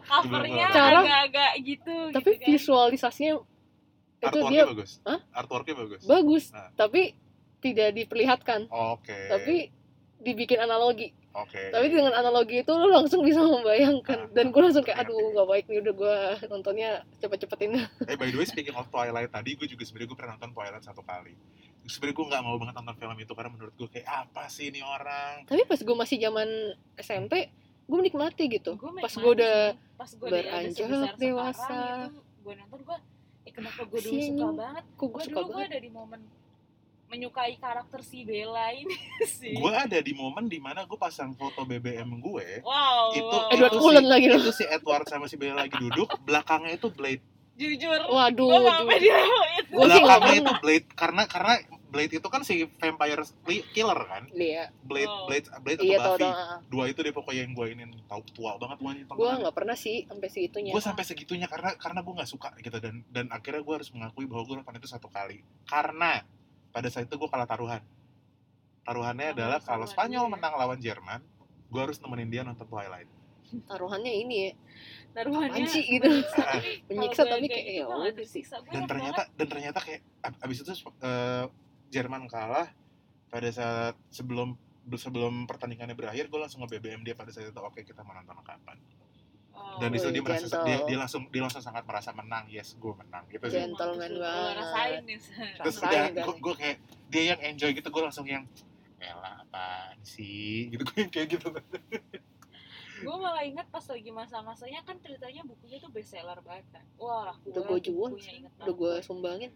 Speaker 3: eh, covernya
Speaker 4: Cara-
Speaker 3: agak-agak gitu
Speaker 4: tapi
Speaker 3: gitu kan.
Speaker 4: visualisasinya itu
Speaker 1: Artworknya
Speaker 4: dia
Speaker 1: bagus.
Speaker 4: Hah?
Speaker 1: Artworknya bagus.
Speaker 4: bagus
Speaker 1: Ah.
Speaker 4: tapi tidak diperlihatkan
Speaker 1: Oke.
Speaker 4: tapi dibikin analogi
Speaker 1: Oke.
Speaker 4: tapi dengan analogi itu lo langsung bisa
Speaker 1: Ah,
Speaker 4: membayangkan dan gue langsung kayak aduh gak baik nih udah gue nontonnya cepet-cepetin [LAUGHS]
Speaker 1: Eh by the way speaking of Twilight tadi gue juga sebenarnya gue pernah nonton Twilight satu kali. Sebenarnya gue nggak mau banget nonton film itu karena menurut gue kayak apa sih ini orang.
Speaker 4: tapi pas gue masih zaman SMP gue menikmati gitu
Speaker 3: Gua
Speaker 4: pas
Speaker 3: menikmati
Speaker 4: gue udah
Speaker 3: sih. pas gue
Speaker 4: beranjak
Speaker 3: gue
Speaker 4: dewasa.
Speaker 3: gitu, nonton gue eh, kenapa gue dulu
Speaker 4: Sih,
Speaker 3: suka
Speaker 4: ini.
Speaker 3: banget
Speaker 4: kok gue
Speaker 3: gue
Speaker 4: suka
Speaker 3: dulu gue
Speaker 4: banget
Speaker 3: ada di momen menyukai karakter si Bella ini [LAUGHS] sih
Speaker 1: Gue ada di momen dimana gue pasang foto BBM gue.
Speaker 3: wow
Speaker 1: Itu-
Speaker 3: wow.
Speaker 1: itu
Speaker 4: Edward
Speaker 1: sih.
Speaker 4: Cullen Eh, lagi loh
Speaker 1: Itu si Edward sama si Bella lagi duduk, belakangnya itu Blade.
Speaker 3: jujur
Speaker 4: Waduh,
Speaker 3: gue mau apa
Speaker 4: jujur.
Speaker 3: dia
Speaker 4: Gua sih nggak
Speaker 1: belakangnya itu
Speaker 4: pernah.
Speaker 1: blade karena karena blade itu kan si vampire li- killer kan
Speaker 4: Iya,
Speaker 1: blade
Speaker 3: Oh.
Speaker 1: blade blade atau
Speaker 4: iya tau
Speaker 1: buffy
Speaker 4: dong. ah.
Speaker 1: dua itu deh pokoknya yang gue ini tau tua banget gue ini
Speaker 4: Gua nggak pernah sih sampai segitunya.
Speaker 1: gue sampai segitunya karena karena gue nggak suka gitu dan dan akhirnya gue harus mengakui bahwa gue nonton itu satu kali karena pada saat itu gue kalah taruhan taruhannya
Speaker 3: Oh,
Speaker 1: adalah
Speaker 3: harus
Speaker 1: kalau
Speaker 3: taruhan
Speaker 1: Spanyol
Speaker 3: dulu ya.
Speaker 1: menang lawan Jerman gue harus nemenin dia nonton Twilight
Speaker 4: Iya, Taruhannya ini ya, apaan
Speaker 3: taruhannya
Speaker 4: sih gitu.
Speaker 1: Ah,
Speaker 4: Menyiksa tapi kayak ya
Speaker 3: gitu
Speaker 4: udah sih.
Speaker 1: dan ternyata dan ternyata kayak ab- abis itu eh, Jerman kalah pada saat sebelum sebelum pertandingannya berakhir gue langsung nge BBM dia pada saat itu oke kita mau nonton kapan
Speaker 3: Oh.
Speaker 1: dan di situ dia
Speaker 4: Wih,
Speaker 1: merasa
Speaker 4: Oh, iya, gentle.
Speaker 1: dia,
Speaker 4: Iya,
Speaker 1: dia langsung dia langsung sangat merasa menang yes gue menang gitu sih
Speaker 4: Gentle. gentleman banget.
Speaker 3: rasain nih
Speaker 1: terus
Speaker 4: Rasain
Speaker 1: udah
Speaker 4: kan.
Speaker 1: gue gue kayak dia yang enjoy gitu gue langsung yang elah apaan sih gitu gue kayak gitu
Speaker 3: gue malah inget pas lagi masa-masanya kan ceritanya bukunya tuh bestseller banget kan wah
Speaker 4: Udah gua jual,
Speaker 3: bukunya inget
Speaker 4: Udah gue
Speaker 3: banget.
Speaker 4: sumbangin.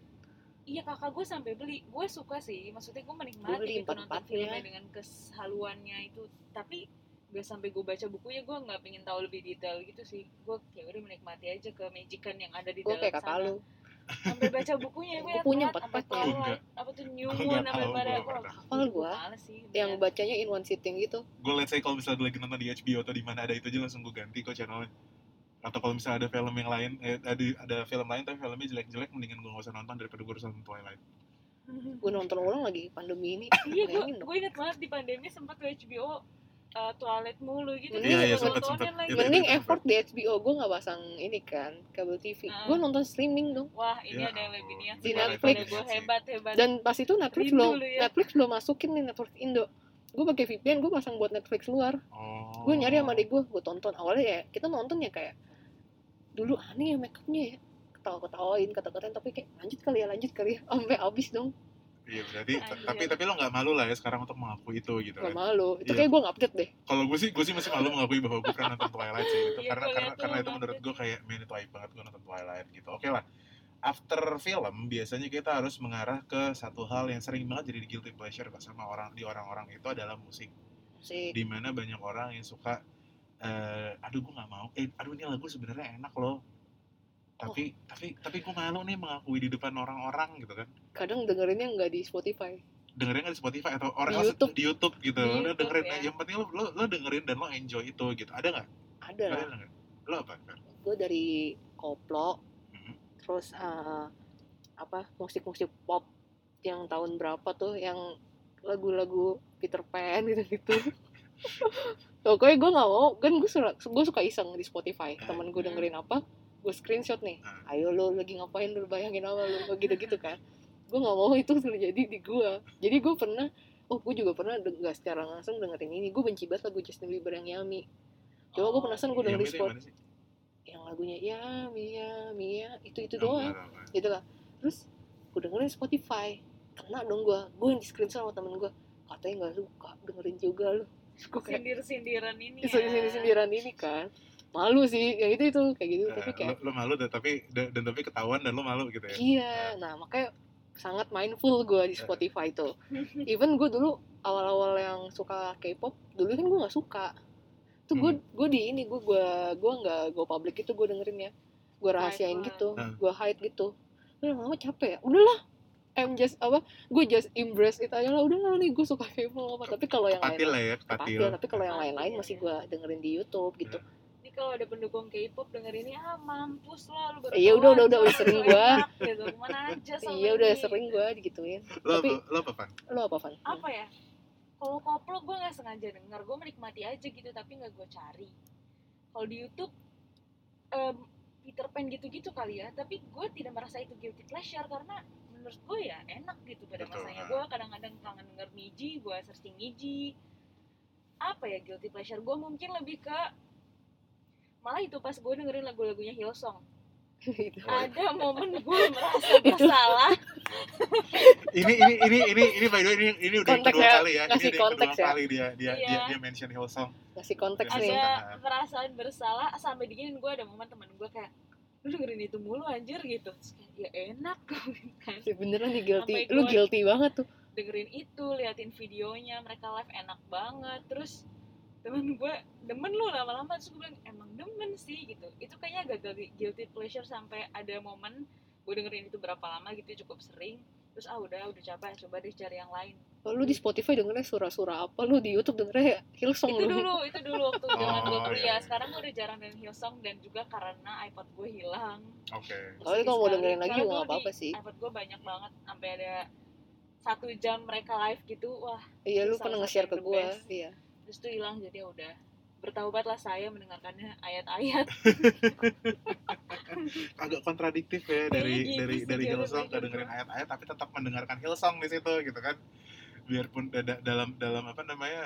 Speaker 3: iya kakak gue sampai beli gue suka sih maksudnya gue
Speaker 4: Gua beli
Speaker 3: menikmati gitu nonton
Speaker 4: empat-empatnya.
Speaker 3: filmnya dengan kehaluannya itu tapi gak sampai gue baca bukunya gue nggak pengen tahu lebih detail gitu sih gue ya udah menikmati aja kemajikan yang ada di
Speaker 4: Gue
Speaker 3: dalam
Speaker 4: kayak kakak
Speaker 3: sana Iya.
Speaker 4: lu.
Speaker 3: sampai baca
Speaker 4: [LAUGHS]
Speaker 3: bukunya
Speaker 4: Gua
Speaker 3: gue
Speaker 4: punya
Speaker 3: apa
Speaker 4: empat-empatnya.
Speaker 1: Gua enggak.
Speaker 3: apa tuh new
Speaker 1: Gua
Speaker 3: moon
Speaker 1: enggak
Speaker 3: apa
Speaker 1: tahu,
Speaker 3: pada
Speaker 1: gua enggak
Speaker 4: Hafal gua.
Speaker 3: males sih iya.
Speaker 4: Yang
Speaker 3: beneran.
Speaker 4: bacanya in one sitting gitu.
Speaker 1: gue let's say kalau misalnya lagi nonton di HBO atau di mana ada itu aja langsung gue ganti kok channelnya atau kalau misalnya ada film yang lain eh, ada ada film lain tapi filmnya jelek-jelek mendingan gue gak usah nonton daripada gue harus nonton Twilight
Speaker 4: Gue nonton ulang lagi pandemi ini.
Speaker 3: [LAUGHS] iya gue
Speaker 4: Bayangin dong.
Speaker 3: gue inget banget di pandemi sempat ke HBO eh, toilet mulu gitu
Speaker 4: Iya, iya,
Speaker 3: gue
Speaker 4: sempet,
Speaker 1: sempet.
Speaker 3: tontonin lagi.
Speaker 1: Iya,
Speaker 4: Mending
Speaker 1: itu- itu-
Speaker 4: effort di HBO gue nggak pasang ini kan kabel TV.
Speaker 3: Ah.
Speaker 4: Gue nonton streaming dong.
Speaker 3: wah ini
Speaker 1: Ya
Speaker 3: ada yang
Speaker 1: ampun.
Speaker 3: lebih niat
Speaker 4: Di
Speaker 3: daripada
Speaker 4: Netflix.
Speaker 1: iya.
Speaker 3: gue hebat hebat
Speaker 4: Dan pas itu Netflix
Speaker 3: Rindu
Speaker 4: belum
Speaker 3: lu ya.
Speaker 4: Netflix belum masukin nih Netflix Indo. Gue pakai VPN gue pasang buat Netflix luar.
Speaker 1: oh
Speaker 4: Gue nyari sama adik gue, gue tonton awalnya ya kita nonton ya kayak dulu aneh ya makeupnya ya ketawa-ketawain kata-katain tapi kayak lanjut kali ya lanjut kali ya sampai habis dong
Speaker 1: iya berarti
Speaker 3: Anjir.
Speaker 1: tapi tapi lo nggak malu lah ya sekarang untuk mengakui itu gitu kan
Speaker 4: gak malu
Speaker 1: Iya.
Speaker 4: itu kayak gue nggak update deh
Speaker 1: kalau gue sih gue sih masih malu mengakui bahwa gue pernah nonton Twilight sih gitu.
Speaker 3: Iya,
Speaker 1: karena
Speaker 3: gua
Speaker 1: karena
Speaker 3: liat tuh
Speaker 1: karena itu
Speaker 3: banget.
Speaker 1: menurut gue kayak man itu aib banget gue nonton Twilight gitu oke lah after film biasanya kita harus mengarah ke satu hal yang sering banget jadi guilty pleasure sama orang di orang-orang itu adalah musik
Speaker 4: sih
Speaker 1: dimana banyak orang yang suka eh aduh gue nggak mau eh aduh ini lagu sebenarnya enak loh
Speaker 3: Oh.
Speaker 1: tapi tapi tapi gue malu nih mengakui di depan orang-orang gitu kan
Speaker 4: kadang dengerinnya nggak di Spotify
Speaker 1: dengerin kan di Spotify atau orang
Speaker 4: Di
Speaker 1: else
Speaker 4: YouTube.
Speaker 1: di YouTube gitu
Speaker 3: Di
Speaker 1: lo
Speaker 3: YouTube,
Speaker 1: dengerin
Speaker 3: ya.
Speaker 1: yang penting lo, lo lo dengerin dan lo enjoy itu gitu ada nggak
Speaker 4: ada lah
Speaker 1: Kalian dengerin? lo apa Fer?
Speaker 4: gue dari koplo
Speaker 1: Mhm.
Speaker 4: terus eh, apa musik-musik pop yang tahun berapa tuh yang lagu-lagu Peter Pan [LAUGHS] gitu-gitu pokoknya gue nggak mau kan gue suka gue suka iseng di Spotify temen gue dengerin apa gue screenshot nih ayo lo lagi ngapain lo bayangin apa lo [LAUGHS] gitu-gitu kan gue nggak mau itu terjadi di gue jadi gue pernah oh gue juga pernah deng- nggak secara langsung dengerin ini gue benci banget lagu Justin Bieber yang Yami Coba gua penasaran, Kan gua
Speaker 3: iya.
Speaker 1: Yang
Speaker 4: dengerin.
Speaker 1: itu yang mana sih?
Speaker 4: yang lagunya Yami Yami ya itu itu
Speaker 1: Oh, gua
Speaker 4: doang
Speaker 1: tahu, gua tahu.
Speaker 4: gitu lah terus gue dengerin Spotify kena dong gue gue yang di screenshot sama temen gue katanya nggak suka dengerin juga lu Terus gue kayak
Speaker 3: sindir-sindiran ini ya
Speaker 4: sini sini sindiran ini kan malu sih kayak gitu itu kayak gitu tapi
Speaker 1: Eh,
Speaker 4: kayak
Speaker 1: lo, lo malu dan tapi dan, dan tapi ketahuan dan lo malu gitu ya
Speaker 4: iya nah makanya sangat mindful gue di Spotify tuh even gue dulu awal-awal yang suka K-pop dulu kan gue nggak suka tuh gue gue di ini gue gue gue nggak gue public itu gue dengerin ya gue rahasiain
Speaker 3: Hide,
Speaker 4: gitu
Speaker 1: Hmm.
Speaker 4: gue hide gitu udah lama capek ya udahlah I'm just apa gue just embrace itu aja lah udahlah nih gue suka K-pop apa tapi kalau yang
Speaker 1: kepatil
Speaker 4: lain
Speaker 1: lah ya kepatil
Speaker 4: kepatil tapi kalau yang
Speaker 3: Kepatil,
Speaker 4: lain-lain
Speaker 3: iya.
Speaker 4: masih gue dengerin di YouTube gitu
Speaker 3: ini kalau ada pendukung K-pop dengerin ini ah mampus lah lu baru
Speaker 4: Iya,
Speaker 3: tahu
Speaker 4: udah, udah,
Speaker 3: aja,
Speaker 4: udah, udah sering
Speaker 3: lu
Speaker 4: gua.
Speaker 3: enak, [LAUGHS] gitu. Kemana aja sama
Speaker 4: iya udah
Speaker 3: ini.
Speaker 4: sering gue digituin
Speaker 1: lo
Speaker 4: tapi
Speaker 1: apa- lo apa Oh, Fan?
Speaker 4: lo apa Van?
Speaker 1: Iya.
Speaker 3: apa ya kalau koplo gue nggak sengaja dengar gue menikmati aja gitu tapi nggak gue cari kalau di YouTube em, Peter Pan gitu-gitu kali ya tapi gue tidak merasa itu guilty pleasure karena menurut gue ya enak gitu pada
Speaker 1: Betul,
Speaker 3: masanya
Speaker 1: ah.
Speaker 3: gue kadang-kadang kangen denger Niji gue searching Niji apa ya guilty pleasure gue mungkin lebih ke malah itu pas gue dengerin lagu-lagunya Hillsong
Speaker 4: [LAUGHS] Gitu.
Speaker 1: Oh, iya.
Speaker 3: ada momen gue merasa bersalah
Speaker 1: ini ini ini ini ini by the way ini ini udah yang
Speaker 4: Konteks
Speaker 1: kedua
Speaker 4: ya,
Speaker 1: kali ya ini
Speaker 4: ngasih
Speaker 1: udah yang kedua
Speaker 4: konteks ya.
Speaker 1: kali dia dia
Speaker 3: Iya.
Speaker 1: dia, dia mention Hillsong
Speaker 4: ngasih konteks
Speaker 1: Ada-
Speaker 4: nih
Speaker 1: Tangan.
Speaker 3: ada perasaan bersalah sampai diginin gue ada momen temen gue kayak lu dengerin itu mulu anjir gitu Terus kayak, ya enak [LAUGHS] kan
Speaker 4: Iya, beneran nih guilty
Speaker 3: Sampai
Speaker 4: lu
Speaker 3: gua-
Speaker 4: guilty banget tuh
Speaker 3: dengerin itu liatin videonya mereka live enak banget terus temen gue demen lu lama-lama terus gue bilang emang demen sih gitu itu kayaknya agak agak guilty pleasure sampai ada momen gue dengerin itu berapa lama gitu cukup sering terus ah udah udah capek coba deh cari yang lain
Speaker 4: lu di Spotify dengernya sura-sura apa lu di YouTube dengernya Hillsong
Speaker 3: itu
Speaker 4: lu
Speaker 3: dulu itu dulu waktu zaman gue
Speaker 1: Oh,
Speaker 3: kuliah
Speaker 1: iya.
Speaker 3: sekarang gue udah jarang dengerin Hillsong dan juga karena iPod gue hilang
Speaker 1: Oke.
Speaker 4: Kalau kalau mau
Speaker 3: Sekali.
Speaker 4: dengerin lagi
Speaker 3: Karena
Speaker 4: juga nggak
Speaker 3: dulu
Speaker 4: apa-apa
Speaker 3: di
Speaker 4: sih.
Speaker 3: iPod gue banyak banget sampai ada satu jam mereka live gitu wah
Speaker 4: Iya, lu
Speaker 3: salah
Speaker 4: pernah
Speaker 3: satu
Speaker 4: nge-share ke
Speaker 3: yang the
Speaker 4: gue.
Speaker 3: best.
Speaker 4: Iya.
Speaker 3: terus tuh hilang jadi ya udah bertaubatlah saya mendengarkannya ayat-ayat
Speaker 1: Agak kontradiktif ya dari
Speaker 3: Iya,
Speaker 1: dari
Speaker 3: gitu sih,
Speaker 1: dari
Speaker 3: jawabannya
Speaker 1: Hillsong ke
Speaker 3: gitu.
Speaker 1: dengerin ayat-ayat tapi tetap mendengarkan Hillsong di situ gitu kan. Biarpun da- da- dalam dalam apa namanya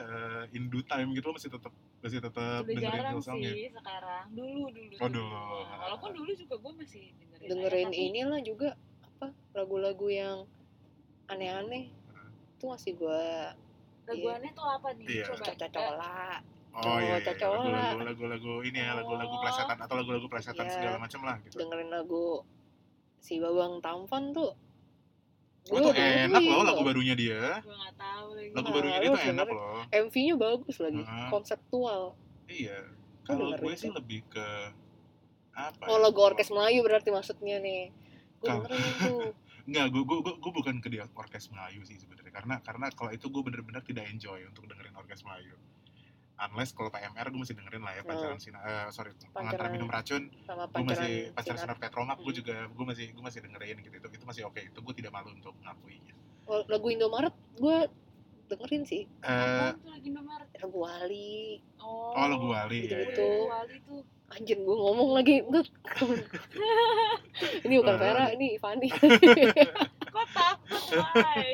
Speaker 1: eh, in due time gitu lo masih tetap masih tetap
Speaker 3: udah
Speaker 1: dengerin
Speaker 3: jarang
Speaker 1: Hillsong ya.
Speaker 3: sih sekarang dulu dulu tuh
Speaker 1: Waduh.
Speaker 3: dulu. walaupun dulu juga gue masih dengerin
Speaker 4: Dengerin
Speaker 3: ayat, tapi
Speaker 4: inilah juga apa lagu-lagu yang aneh-aneh. Itu masih gue iya.
Speaker 3: laguannya tuh apa nih
Speaker 1: Iya.
Speaker 3: coba
Speaker 4: cacola.
Speaker 1: Oh iya, iya.
Speaker 4: Cocok lah.
Speaker 1: lagu-lagu lagu-lagu ini ya, lagu-lagu
Speaker 3: Oh.
Speaker 1: plesetan atau lagu-lagu plesetan
Speaker 4: Iya.
Speaker 1: segala macam lah gitu.
Speaker 4: Dengerin lagu si Babang Tampan tuh.
Speaker 1: Oh,
Speaker 4: Gua
Speaker 1: itu
Speaker 4: dengerin
Speaker 1: enak loh lagu
Speaker 4: tuh.
Speaker 1: barunya dia.
Speaker 3: gue nggak tahu lagi
Speaker 1: Lagu
Speaker 4: Nah,
Speaker 1: barunya
Speaker 4: lu
Speaker 1: dia tuh
Speaker 4: harus
Speaker 1: enak
Speaker 4: dengerin.
Speaker 1: loh.
Speaker 4: MV-nya bagus lagi,
Speaker 1: Heeh.
Speaker 4: konseptual.
Speaker 1: Iya. Kalau
Speaker 4: dengerin
Speaker 1: gue sih
Speaker 4: tuh.
Speaker 1: lebih ke apa?
Speaker 4: Oh,
Speaker 1: ya?
Speaker 4: lagu orkes Melayu berarti maksudnya nih. Gue
Speaker 1: Kal-
Speaker 4: dengerin itu.
Speaker 1: Nggak, gue, gue, gue, gue bukan ke dia orkes Melayu sih sebenarnya karena karena kalau itu gue bener-bener tidak enjoy untuk dengerin orkes Melayu unless kalau PMR gue masih dengerin lah ya pancaran sinar eh, sorry pengantar
Speaker 4: Oh. Pancaran-
Speaker 1: minum racun gue
Speaker 4: Sama pacaran
Speaker 1: masih pacaran
Speaker 4: sinar.
Speaker 1: sinar Petromak gue
Speaker 4: Hmm.
Speaker 1: juga gue masih gue masih dengerin gitu itu itu masih oke itu gue tidak malu untuk mengakuinya
Speaker 4: Oh, Lagu Indomaret gue dengerin sih.
Speaker 1: Eh,
Speaker 3: Apaan tuh lagi Indomaret
Speaker 4: Lagu Wali.
Speaker 3: oh,
Speaker 1: oh lagu Wali ya, ya,
Speaker 4: Gitu-gitu.
Speaker 1: ya.
Speaker 3: wali tuh
Speaker 4: Anjir gue ngomong lagi Nggak. Ini bukan Vera, ini
Speaker 1: [LAUGHS]
Speaker 4: Fani
Speaker 3: kok takut why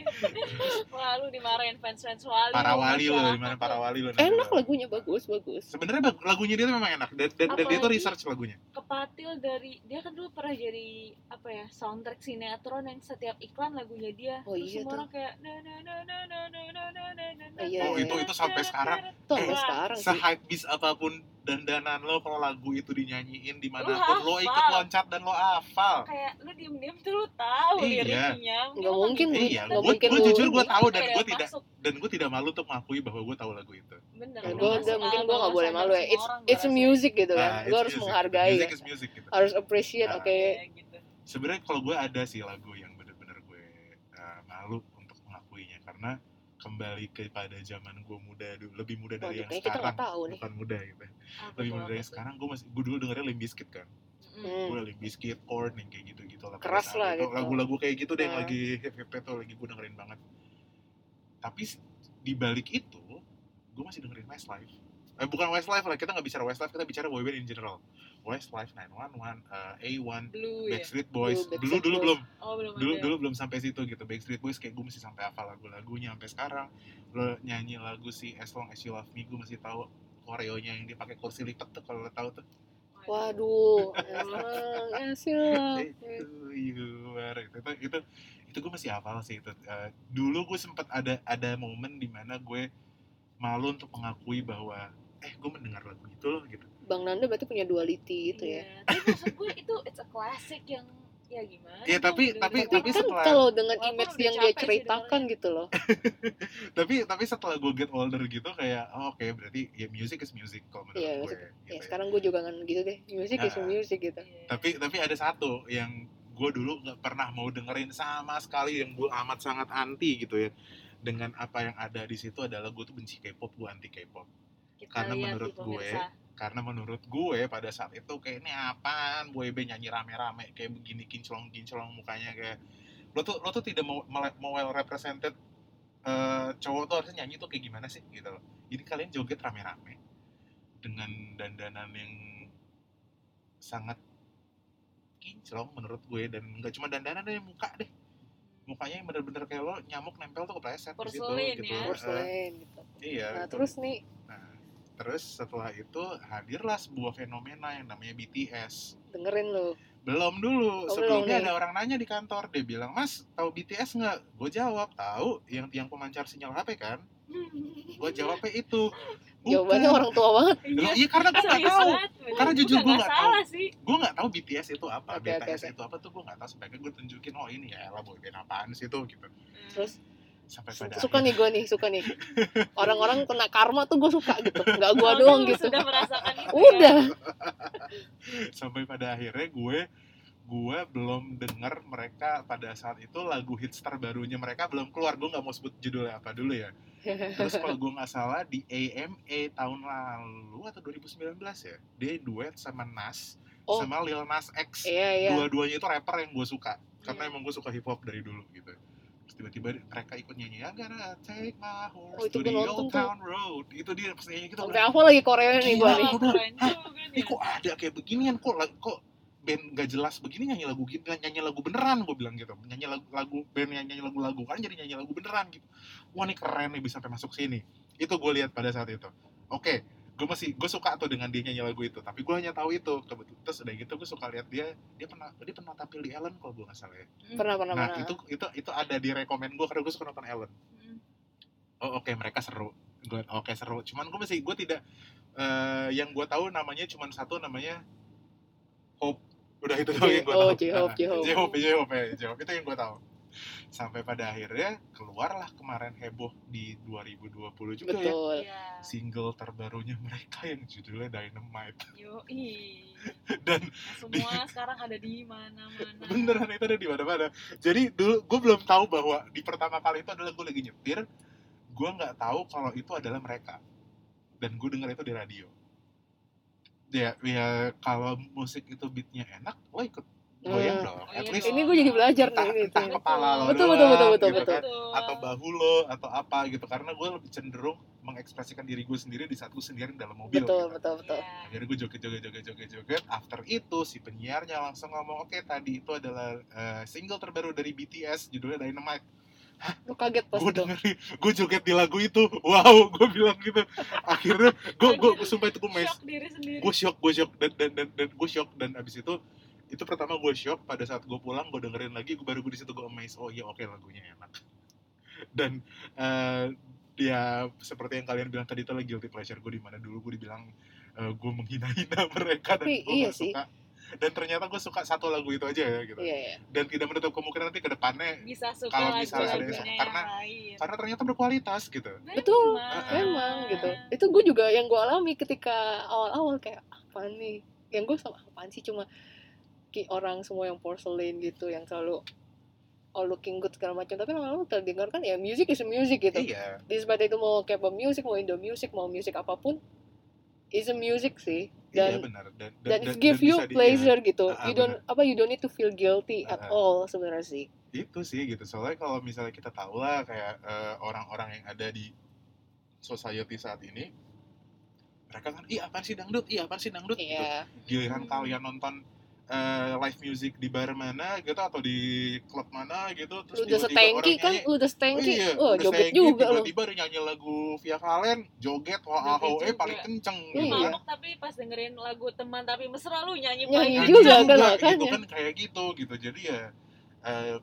Speaker 3: wah lu dimarahin fans fans wali
Speaker 1: para
Speaker 3: lu,
Speaker 1: wali lo
Speaker 3: masalah
Speaker 1: di mana
Speaker 3: apa
Speaker 1: para
Speaker 3: tuh?
Speaker 1: wali lo
Speaker 4: Enak lagunya, bagus, bagus
Speaker 1: sebenarnya bag- lagunya dia tuh memang enak dan, dan, dan dia tuh
Speaker 3: Apalagi-
Speaker 1: research lagunya
Speaker 3: kepatil dari dia kan dulu pernah jadi apa ya soundtrack sinetron yang setiap iklan lagunya dia
Speaker 4: Oh,
Speaker 3: Terus
Speaker 4: iya
Speaker 3: semua
Speaker 4: tuh.
Speaker 3: orang kayak na na na na na na na na na na na.
Speaker 4: Oh, iya, Oh, iya. itu-
Speaker 1: itu sampai sekarang.
Speaker 4: Itu sampai
Speaker 1: Iya.
Speaker 3: Eh,
Speaker 4: sekarang sih
Speaker 1: sehype bis apapun dandanan lo kalau lagu itu dinyanyiin dimanapun
Speaker 3: Lu
Speaker 1: lo ikut
Speaker 3: hafal.
Speaker 1: loncat dan lo hafal
Speaker 3: kayak lu diem diem tuh lu tahu
Speaker 1: Iya.
Speaker 3: liriknya Mungkin
Speaker 4: Nggak
Speaker 3: lu
Speaker 4: mungkin,
Speaker 3: ngikutin
Speaker 1: Iya,
Speaker 3: tapi
Speaker 4: Nggak
Speaker 1: gue
Speaker 4: mungkin
Speaker 1: gue
Speaker 4: lu-
Speaker 1: jujur gue
Speaker 4: lu
Speaker 1: tahu
Speaker 3: kan kayak
Speaker 1: dan gue tidak
Speaker 3: masuk.
Speaker 1: dan gue tidak malu untuk mengakui bahwa gue tahu lagu itu.
Speaker 3: bener
Speaker 1: Kalau
Speaker 4: Gue udah
Speaker 1: masuk
Speaker 4: mungkin gue gak boleh malu ya It's, it's music gitu
Speaker 1: Ah,
Speaker 4: kan
Speaker 1: it's
Speaker 4: Gue harus
Speaker 1: music.
Speaker 4: menghargai
Speaker 1: Music
Speaker 4: ya.
Speaker 1: is music gitu.
Speaker 4: Harus appreciate,
Speaker 1: Ah.
Speaker 4: oke
Speaker 1: Sebenarnya kalau gue ada sih lagu yang bener-bener gue eh, malu untuk mengakuinya karena kembali kepada zaman gue muda dulu lebih muda
Speaker 4: Waduh,
Speaker 1: dari yang
Speaker 4: kayaknya kita
Speaker 1: Iya, sekarang
Speaker 4: nggak tahu
Speaker 1: [LAUGHS]
Speaker 4: nih
Speaker 1: bukan muda gitu lebih muda dari sekarang gue masih gue dulu dengerin Limp Bizkit kan
Speaker 4: Hmm.
Speaker 1: gue Limp Bizkit Korn yang kayak gitu gitu lah
Speaker 4: Keras lah gitu.
Speaker 1: lagu-lagu kayak gitu deh yang
Speaker 4: Ah.
Speaker 1: lagi hip hip tuh lagi gue dengerin banget tapi s- di balik itu gue masih dengerin Westlife eh bukan Westlife lah kita nggak bicara Westlife kita bicara boyband in general Westlife 911 uh, A1
Speaker 3: blue ya
Speaker 1: Backstreet Boys
Speaker 4: Oh, iya. Dulu
Speaker 1: dulu
Speaker 4: Backstreet
Speaker 1: dulu
Speaker 4: Boys. iya.
Speaker 1: belum
Speaker 3: oh belum
Speaker 1: dulu
Speaker 3: ada.
Speaker 1: dulu belum sampai situ gitu Backstreet Boys kayak gue masih sampai hafal lagu-lagunya sampai sekarang lo nyanyi lagu si As Long As You Love Me gue masih tahu koreonya yang dipakai kursi lipat tuh kalau lo tahu tuh
Speaker 4: Waduh, emang asyik
Speaker 1: Hey, to you are itu itu itu, itu gue masih hafal sih itu Eh, dulu gue sempat ada ada momen dimana gue malu untuk mengakui bahwa eh gue mendengar lagu itu loh gitu
Speaker 4: Bang Nanda berarti punya duality gitu
Speaker 3: Iya.
Speaker 4: ya
Speaker 3: tapi maksud gue itu it's a classic yang ya gimana
Speaker 1: Iya, tapi-
Speaker 3: gitu,
Speaker 1: tapi-
Speaker 3: dengerin
Speaker 4: Tapi
Speaker 1: tapi
Speaker 4: kan
Speaker 1: setelah-
Speaker 4: kalau dengan
Speaker 3: Walaupun
Speaker 4: image
Speaker 3: udah
Speaker 4: yang dia
Speaker 3: capek sih
Speaker 4: ceritakan gitu loh
Speaker 1: tapi tapi setelah gue get older gitu kayak oh, oke berarti ya music is music kalau menurut
Speaker 4: Iya,
Speaker 1: gue
Speaker 4: music-
Speaker 1: gitu
Speaker 4: Ya
Speaker 1: ya.
Speaker 4: sekarang gue juga kan gitu deh Music is
Speaker 1: Ah.
Speaker 4: music gitu
Speaker 3: Iya.
Speaker 1: tapi tapi ada satu yang gue dulu nggak pernah mau dengerin sama sekali yang gue amat sangat anti gitu ya dengan apa yang ada di situ adalah gue tuh benci K-pop gue anti K-pop
Speaker 3: Kita
Speaker 1: karena
Speaker 3: lihat
Speaker 1: menurut
Speaker 3: nih,
Speaker 1: gue,
Speaker 3: pemirsa.
Speaker 1: karena menurut gue pada saat itu kayak ini apaan boyband nyanyi rame-rame kayak begini kinclong kinclong mukanya kayak lo tuh lo tuh tidak mau mele- mau well represented eh, cowok tuh harusnya nyanyi tuh kayak gimana sih gitu loh jadi kalian joget rame-rame dengan dandanan yang sangat kinclong menurut gue dan nggak cuma dandanan deh muka deh mukanya yang bener-bener kayak lo nyamuk nempel tuh kepleset di situ
Speaker 3: Porselin
Speaker 1: gitu
Speaker 3: ya.
Speaker 1: Eh,
Speaker 4: Porcelain gitu
Speaker 1: iya
Speaker 4: Nah
Speaker 1: itu.
Speaker 4: terus nih
Speaker 1: Nah, terus setelah itu hadirlah sebuah fenomena yang namanya BTS.
Speaker 4: dengerin lo
Speaker 1: Belum dulu,
Speaker 4: Oh,
Speaker 1: sebelumnya
Speaker 4: belum nih.
Speaker 1: ada orang nanya di kantor, dia bilang, Mas, tahu BTS nggak? Gue jawab, tahu yang tiang pemancar sinyal HP kan? Gue jawabnya itu. Bukan.
Speaker 4: Jawabannya orang tua banget
Speaker 1: Loh,
Speaker 3: Iya,
Speaker 1: iya karena gue nggak
Speaker 3: serius
Speaker 1: tahu.
Speaker 3: banget, bener.
Speaker 1: Karena
Speaker 3: Gua
Speaker 1: jujur
Speaker 3: nggak
Speaker 1: gua nggak
Speaker 3: salah sih.
Speaker 1: Gue nggak tahu BTS itu apa,
Speaker 4: Oke, oke,
Speaker 1: BTS
Speaker 4: oke.
Speaker 1: itu apa tuh gue nggak tahu. Sebaiknya gue tunjukin, oh ini ya lah boyband apaan sih itu gitu.
Speaker 4: Terus
Speaker 1: sampai
Speaker 4: Su-
Speaker 1: pada
Speaker 4: suka
Speaker 1: akhirnya-
Speaker 4: nih gue nih suka
Speaker 1: [LAUGHS]
Speaker 4: nih orang-orang kena karma tuh gue suka gitu nggak gue
Speaker 3: Kamu
Speaker 4: doang gitu
Speaker 3: sudah merasakan itu ya?
Speaker 4: udah
Speaker 1: sampai pada akhirnya gue gue belum dengar mereka pada saat itu lagu hits terbarunya mereka belum keluar gue nggak mau sebut judulnya apa dulu ya
Speaker 4: [LAUGHS]
Speaker 1: terus kalau gue nggak salah di AMA tahun lalu atau 2019 ya dia duet sama Nas
Speaker 4: Oh.
Speaker 1: sama Lil Nas X
Speaker 4: iya iya
Speaker 1: dua-duanya itu rapper yang gue suka karena
Speaker 3: Iya.
Speaker 1: emang gue suka hip hop dari dulu gitu terus tiba-tiba mereka ikut nyanyi I'm gonna take my horse
Speaker 4: Oh,
Speaker 1: to
Speaker 4: itu
Speaker 1: the
Speaker 4: gua nonton
Speaker 1: old
Speaker 4: tuh. Oh,
Speaker 1: town road itu dia pas nyanyi gitu
Speaker 4: sampai aku lagi Korea nih gue
Speaker 1: Gila,
Speaker 4: nih
Speaker 1: aku bilang,
Speaker 3: Keren
Speaker 1: "Hah,
Speaker 3: Iya, juga
Speaker 1: ini
Speaker 3: nih.
Speaker 1: kok ada kayak beginian kok la- kok band gak jelas begini nyanyi lagu gitu nyanyi lagu beneran gue bilang gitu nyanyi lagu lagu band yang nyanyi lagu lagu kan jadi nyanyi lagu beneran gitu wah ini keren nih bisa sampai masuk sini itu gue lihat pada saat itu oke gue masih gue suka tuh dengan dia nyanyi lagu itu tapi gue hanya tahu itu kebetulan terus udah gitu gue suka lihat dia dia pernah dia pernah tampil di Ellen kalau gue nggak salah ya
Speaker 4: pernah pernah
Speaker 1: nah
Speaker 4: pernah
Speaker 1: itu itu itu ada di rekomend gue karena gue suka nonton Ellen
Speaker 3: Hmm.
Speaker 1: oh oke mereka seru gue oke seru cuman gue masih gue tidak eh, yang gue tahu namanya cuman satu namanya hope udah itu doang yang gue
Speaker 4: oh
Speaker 1: tahu
Speaker 4: J-Hope
Speaker 1: Ah,
Speaker 4: J-Hope
Speaker 1: J-Hope J-Hope ya, J-Hope itu yang gue tahu sampai pada akhirnya keluarlah kemarin heboh di 2020 juga ya
Speaker 4: betul
Speaker 3: Iya.
Speaker 1: single terbarunya mereka yang judulnya Dynamite [LAUGHS]
Speaker 3: Yoi. Nah,
Speaker 1: dan
Speaker 3: Semua sekarang ada di mana-mana. Iya,
Speaker 1: beneran itu ada di mana-mana jadi dulu gue belum tahu bahwa di pertama kali itu adalah gue lagi nyetir gue nggak tahu kalau itu adalah mereka dan gue dengar itu di radio ya ya kalau musik itu beatnya enak lo ikut goyang
Speaker 4: Hmm.
Speaker 1: dong
Speaker 3: Oh,
Speaker 1: at
Speaker 3: iya
Speaker 1: least
Speaker 3: dong.
Speaker 4: ini gue jadi belajar
Speaker 1: entah,
Speaker 4: nih ini
Speaker 1: entah
Speaker 4: ini.
Speaker 1: kepala lo
Speaker 4: Betul,
Speaker 1: doang,
Speaker 4: betul, betul, betul,
Speaker 1: gitu kan.
Speaker 3: Betul.
Speaker 1: atau bahu lo atau apa gitu karena gue lebih cenderung mengekspresikan diri gue sendiri di saat gue sendiri dalam mobil
Speaker 4: betul
Speaker 1: gitu.
Speaker 4: betul betul
Speaker 3: Iya.
Speaker 1: Akhirnya gue joget joget joget joget joget. After itu si penyiarnya langsung ngomong, oke tadi itu adalah eh, single terbaru dari BTS judulnya Dynamite.
Speaker 4: gue kaget pas
Speaker 1: Gue
Speaker 4: itu
Speaker 1: dengerin, gue joget di lagu itu. Wow, gue bilang gitu. Akhirnya gue gue gue sumpah itu gue mes,
Speaker 3: Shock diri sendiri.
Speaker 1: gue shock, gue shock dan dan dan, dan gue shock dan abis itu itu pertama gue shock pada saat gue pulang gue dengerin lagi gue baru gue di situ gue amazed oh iya oke lagunya enak [LAUGHS] dan eh, ya seperti yang kalian bilang tadi itu lagi guilty pleasure gue di mana dulu gue dibilang eh, gue menghina-hina [LAUGHS] mereka dan
Speaker 4: Tapi
Speaker 1: gue
Speaker 4: iya
Speaker 1: nggak
Speaker 4: sih.
Speaker 1: suka dan ternyata gue suka satu lagu itu aja ya gitu
Speaker 4: iya iya
Speaker 1: dan tidak menutup kemungkinan nanti ke depannya
Speaker 3: Bisa suka
Speaker 1: Kalau
Speaker 3: lagu
Speaker 1: misalnya
Speaker 4: ada yang
Speaker 3: lagunya
Speaker 1: suka,
Speaker 3: yang
Speaker 1: karena-
Speaker 3: lain.
Speaker 1: karena ternyata berkualitas gitu
Speaker 4: Betul.
Speaker 3: Memang.
Speaker 1: Iya.
Speaker 4: memang gitu itu gue juga yang gue alami ketika awal-awal kayak apa nih yang gue sama apaan sih cuma ki orang semua yang porcelain gitu yang selalu all looking good segala macam tapi lama-lama terdengar kan ya music is a music gitu
Speaker 1: iya
Speaker 4: despite itu mau K-pop music mau Indo music mau music apapun is a music sih
Speaker 1: iya
Speaker 4: dan
Speaker 1: benar dan
Speaker 4: dan, it give you
Speaker 1: bisa di-
Speaker 4: pleasure gitu
Speaker 1: Ah, ah,
Speaker 4: you don't apa you don't need to feel guilty at
Speaker 1: Ah, ah.
Speaker 4: all sebenarnya sih
Speaker 1: itu sih gitu soalnya kalau misalnya kita tahu lah kayak eh, orang-orang yang ada di society saat ini mereka kan iya apaan sih dangdut iya apaan sih dangdut gitu.
Speaker 4: iya
Speaker 1: giliran
Speaker 3: Hmm.
Speaker 1: kalian nonton eh, live music di bar mana gitu atau di klub mana gitu terus
Speaker 4: lu udah
Speaker 1: tiba-tiba
Speaker 4: setengki
Speaker 1: orang
Speaker 4: kan
Speaker 1: nyanyi,
Speaker 4: lu udah setengki
Speaker 1: iya,
Speaker 4: oh
Speaker 1: udah
Speaker 4: joget
Speaker 1: setengki,
Speaker 4: juga lu
Speaker 1: tiba-tiba dia nyanyi lagu Via Valen joget wah
Speaker 3: Joget
Speaker 1: ahoe
Speaker 3: juga.
Speaker 1: paling kenceng
Speaker 4: Iya.
Speaker 1: gitu kan
Speaker 3: Mabok tapi pas dengerin lagu teman tapi mesra lu nyanyi
Speaker 4: Nyanyi
Speaker 3: paling
Speaker 4: juga,
Speaker 3: kenceng.
Speaker 4: kan,
Speaker 1: gitu
Speaker 4: makanya.
Speaker 1: kan kayak gitu gitu jadi ya eh,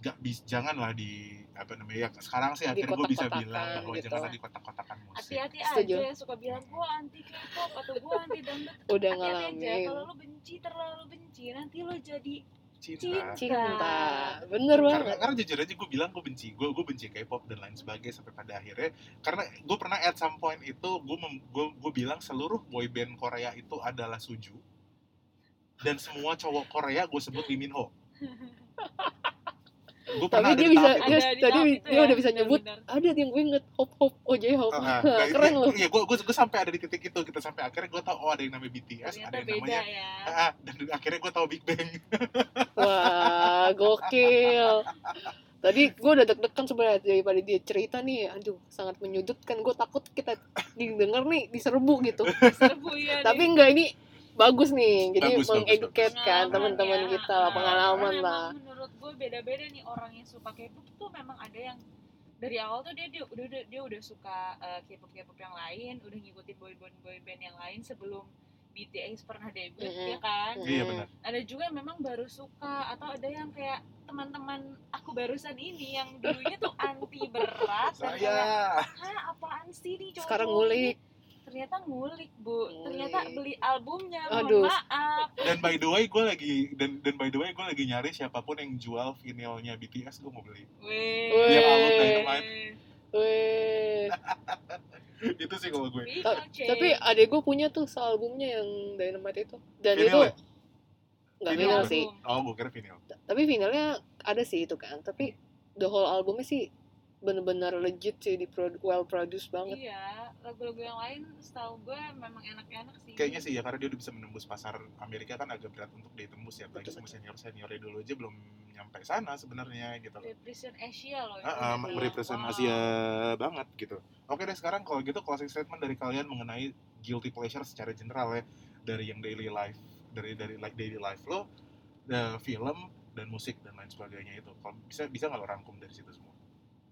Speaker 1: nggak bis janganlah di apa namanya ya sekarang sih akhirnya gue bisa
Speaker 4: kotak-kotakan
Speaker 1: bilang bahwa
Speaker 4: gitu.
Speaker 1: janganlah di kotak-kotakan musik
Speaker 3: Hati-hati
Speaker 4: Setuju.
Speaker 3: aja yang suka bilang gua anti K-pop atau gua anti dangdut.
Speaker 4: udah
Speaker 1: Iya,
Speaker 3: Hati-hati aja
Speaker 4: ngalamin
Speaker 3: Iya, kalau lu benci terlalu benci nanti lu jadi
Speaker 1: cinta
Speaker 4: cinta Iya, bener
Speaker 1: karena, kan
Speaker 4: banget
Speaker 1: karena jujur aja gue bilang gue benci gue gue benci K-pop dan lain sebagainya sampai pada akhirnya karena gue pernah at some point itu gue mem- gue gue bilang seluruh boyband Korea itu adalah suju dan semua cowok Korea gue sebut Lee Min
Speaker 4: [LAUGHS]
Speaker 1: Ho gue pernah ada
Speaker 4: Tapi dia
Speaker 1: di
Speaker 4: bisa-
Speaker 1: tahap itu.
Speaker 4: dia-
Speaker 3: Ada di
Speaker 4: tadi
Speaker 3: tahap
Speaker 4: dia
Speaker 3: itu ya,
Speaker 4: udah bisa nyebut.
Speaker 3: benar-benar.
Speaker 4: ada yang gue inget hop hop oh j hop
Speaker 1: [LAUGHS] Ah,
Speaker 4: Hah,
Speaker 1: nah,
Speaker 4: keren
Speaker 1: iya,
Speaker 4: lu.
Speaker 1: Iya, gue gue gue sampai ada di titik itu kita sampai akhirnya gue tahu oh ada yang namanya BTS, ada
Speaker 3: Ternyata
Speaker 1: yang
Speaker 3: beda
Speaker 1: namanya
Speaker 3: ya.
Speaker 1: Ah, ah, dan akhirnya gue tahu Big Bang.
Speaker 4: Hmm. wah gokil tadi gue udah deg-degan sebenarnya daripada dia cerita nih aduh sangat menyudutkan gue takut kita didengar nih diserbu gitu
Speaker 3: Serbu ya.
Speaker 4: tapi enggak ini bagus nih jadi
Speaker 1: Iya, Bagus, bagus,
Speaker 4: mengeduket
Speaker 1: bagus.
Speaker 4: kan
Speaker 1: Pengalaman
Speaker 4: teman-teman
Speaker 3: Iya, ya.
Speaker 4: kita lah
Speaker 1: Ah.
Speaker 4: pengalaman
Speaker 3: Karena
Speaker 4: lah
Speaker 3: emang menurut gue beda-beda nih orang yang suka K-pop tuh memang ada yang dari awal tuh dia dia udah dia, dia udah suka eh, K-pop K-pop yang lain, udah ngikutin boyband boyband yang lain sebelum BTS pernah debut
Speaker 4: Mm-mm.
Speaker 3: ya kan.
Speaker 4: Mm.
Speaker 1: Iya benar.
Speaker 3: Ada juga yang memang baru suka atau ada yang kayak teman-teman aku barusan ini yang dulunya tuh anti berat
Speaker 1: Saya
Speaker 3: dan kayak, "Hah, apaan sih nih cowok
Speaker 4: sekarang ngulik
Speaker 3: ternyata ngulik bu
Speaker 4: Ngulik.
Speaker 3: ternyata beli albumnya
Speaker 4: Aduh.
Speaker 3: mohon maaf
Speaker 1: dan by the way gue lagi dan dan by the way gue lagi nyari siapapun yang jual vinilnya BTS gue mau beli
Speaker 3: Weh.
Speaker 4: Weh. Dia
Speaker 1: album Dynamite.
Speaker 4: Weh.
Speaker 1: itu sih kalau gue
Speaker 3: Bisa,
Speaker 4: Ta-
Speaker 3: Cek.
Speaker 4: tapi adek gue punya tuh sealbumnya yang Dynamite itu dan
Speaker 1: Vinyl
Speaker 4: itu
Speaker 1: ya?
Speaker 4: nggak
Speaker 1: Vinyl
Speaker 4: vinyl
Speaker 1: ya?
Speaker 4: sih
Speaker 1: oh gue kira vinil
Speaker 4: Ta- tapi vinylnya ada sih itu kan tapi the whole albumnya sih bener-bener legit sih di well produced banget
Speaker 3: iya lagu-lagu yang lain setahu gue memang enak-enak sih
Speaker 4: Iya.
Speaker 1: kayaknya sih ya karena dia udah bisa menembus pasar Amerika kan agak berat untuk ditembus ya apalagi
Speaker 4: Betul,
Speaker 1: semua senior seniornya dulu aja belum nyampe sana sebenarnya gitu loh
Speaker 3: represent Asia loh ya, itu
Speaker 1: Ah, ah,
Speaker 3: bener.
Speaker 1: merepresent
Speaker 3: Wow.
Speaker 1: Asia banget gitu. Oke deh sekarang kalau gitu closing statement dari kalian mengenai guilty pleasure secara general ya dari yang daily life dari dari like daily life lo, eh, film dan musik dan lain sebagainya itu. Kalau bisa bisa nggak lo rangkum dari situ semua?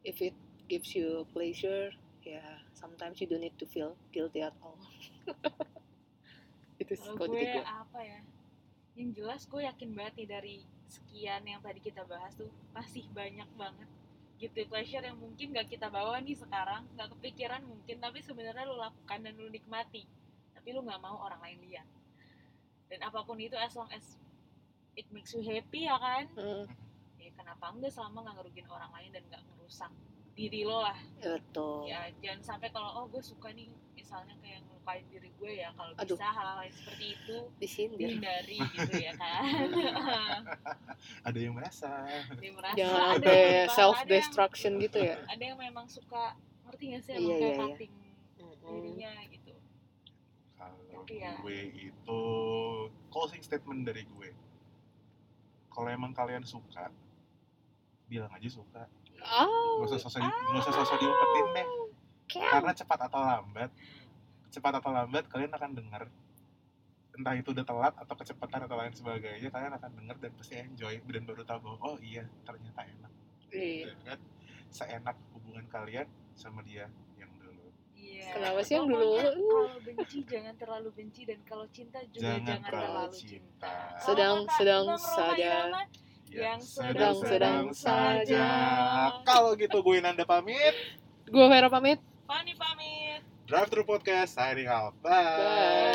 Speaker 4: if it gives you pleasure ya sometimes you don't need to feel guilty at all [LAUGHS] itu sih
Speaker 3: Kalau
Speaker 4: kalau
Speaker 3: gue
Speaker 4: titik gue
Speaker 3: apa ya? Yang jelas gue yakin banget nih dari sekian yang tadi kita bahas tuh masih banyak banget guilty pleasure yang mungkin gak kita bawa nih sekarang, gak kepikiran mungkin, tapi sebenarnya lu lakukan dan lu nikmati, tapi lu nggak mau orang lain lihat. Dan apapun itu as long as it makes you happy ya kan?
Speaker 4: Hmm,
Speaker 3: Ya kenapa enggak selama nggak ngerugiin orang lain dan nggak ngerusak diri lo lah
Speaker 4: betul
Speaker 3: ya jangan sampai kalau oh gue suka nih misalnya kayak ngelukain diri gue ya kalau
Speaker 4: Aduh.
Speaker 3: bisa hal-hal yang seperti itu [LAUGHS]
Speaker 4: disindir
Speaker 3: dihindari
Speaker 4: [LAUGHS]
Speaker 3: gitu ya kan
Speaker 1: Ada yang merasa.
Speaker 3: dia merasa
Speaker 4: jangan
Speaker 3: ada yang
Speaker 4: sampai
Speaker 3: suka,
Speaker 4: self
Speaker 3: ada yang-
Speaker 4: destruction gitu
Speaker 3: [LAUGHS]
Speaker 4: ya
Speaker 3: ada yang memang suka ngerti gak sih
Speaker 4: Iya,
Speaker 3: emang
Speaker 4: iya,
Speaker 3: kayak
Speaker 4: iya.
Speaker 3: cutting dirinya gitu
Speaker 1: Kalau
Speaker 3: Oke, ya.
Speaker 1: gue itu closing statement dari gue. Kalau emang kalian suka, bilang aja suka.
Speaker 4: oh
Speaker 1: Gak usah sosok, nggak usah sosok diumpetin deh.
Speaker 4: Ya.
Speaker 1: karena cepat atau lambat cepat atau lambat kalian akan dengar entah itu udah telat atau kecepatan atau lain sebagainya kalian akan dengar dan pasti enjoy dan baru tahu bahwa oh iya ternyata enak
Speaker 4: Iya.
Speaker 1: Gitu kan seenak hubungan kalian sama dia yang dulu
Speaker 3: Iya.
Speaker 4: Kenapa sih yang dulu?
Speaker 3: Pokoknya Kalau benci jangan terlalu benci dan kalau cinta juga
Speaker 1: Jangan
Speaker 3: jangan,
Speaker 1: terlalu
Speaker 3: terlalu,
Speaker 1: cinta.
Speaker 3: cinta. Kalau
Speaker 4: Sedang-
Speaker 3: kata
Speaker 4: sedang
Speaker 3: Bang Roma
Speaker 4: saja.
Speaker 3: Irama, Yang
Speaker 4: sedang-sedang
Speaker 3: saja.
Speaker 1: Iya. kalau gitu gue Nanda pamit
Speaker 4: gue Vera pamit
Speaker 3: Fani pamit.
Speaker 1: drive thru podcast signing out
Speaker 4: Bye.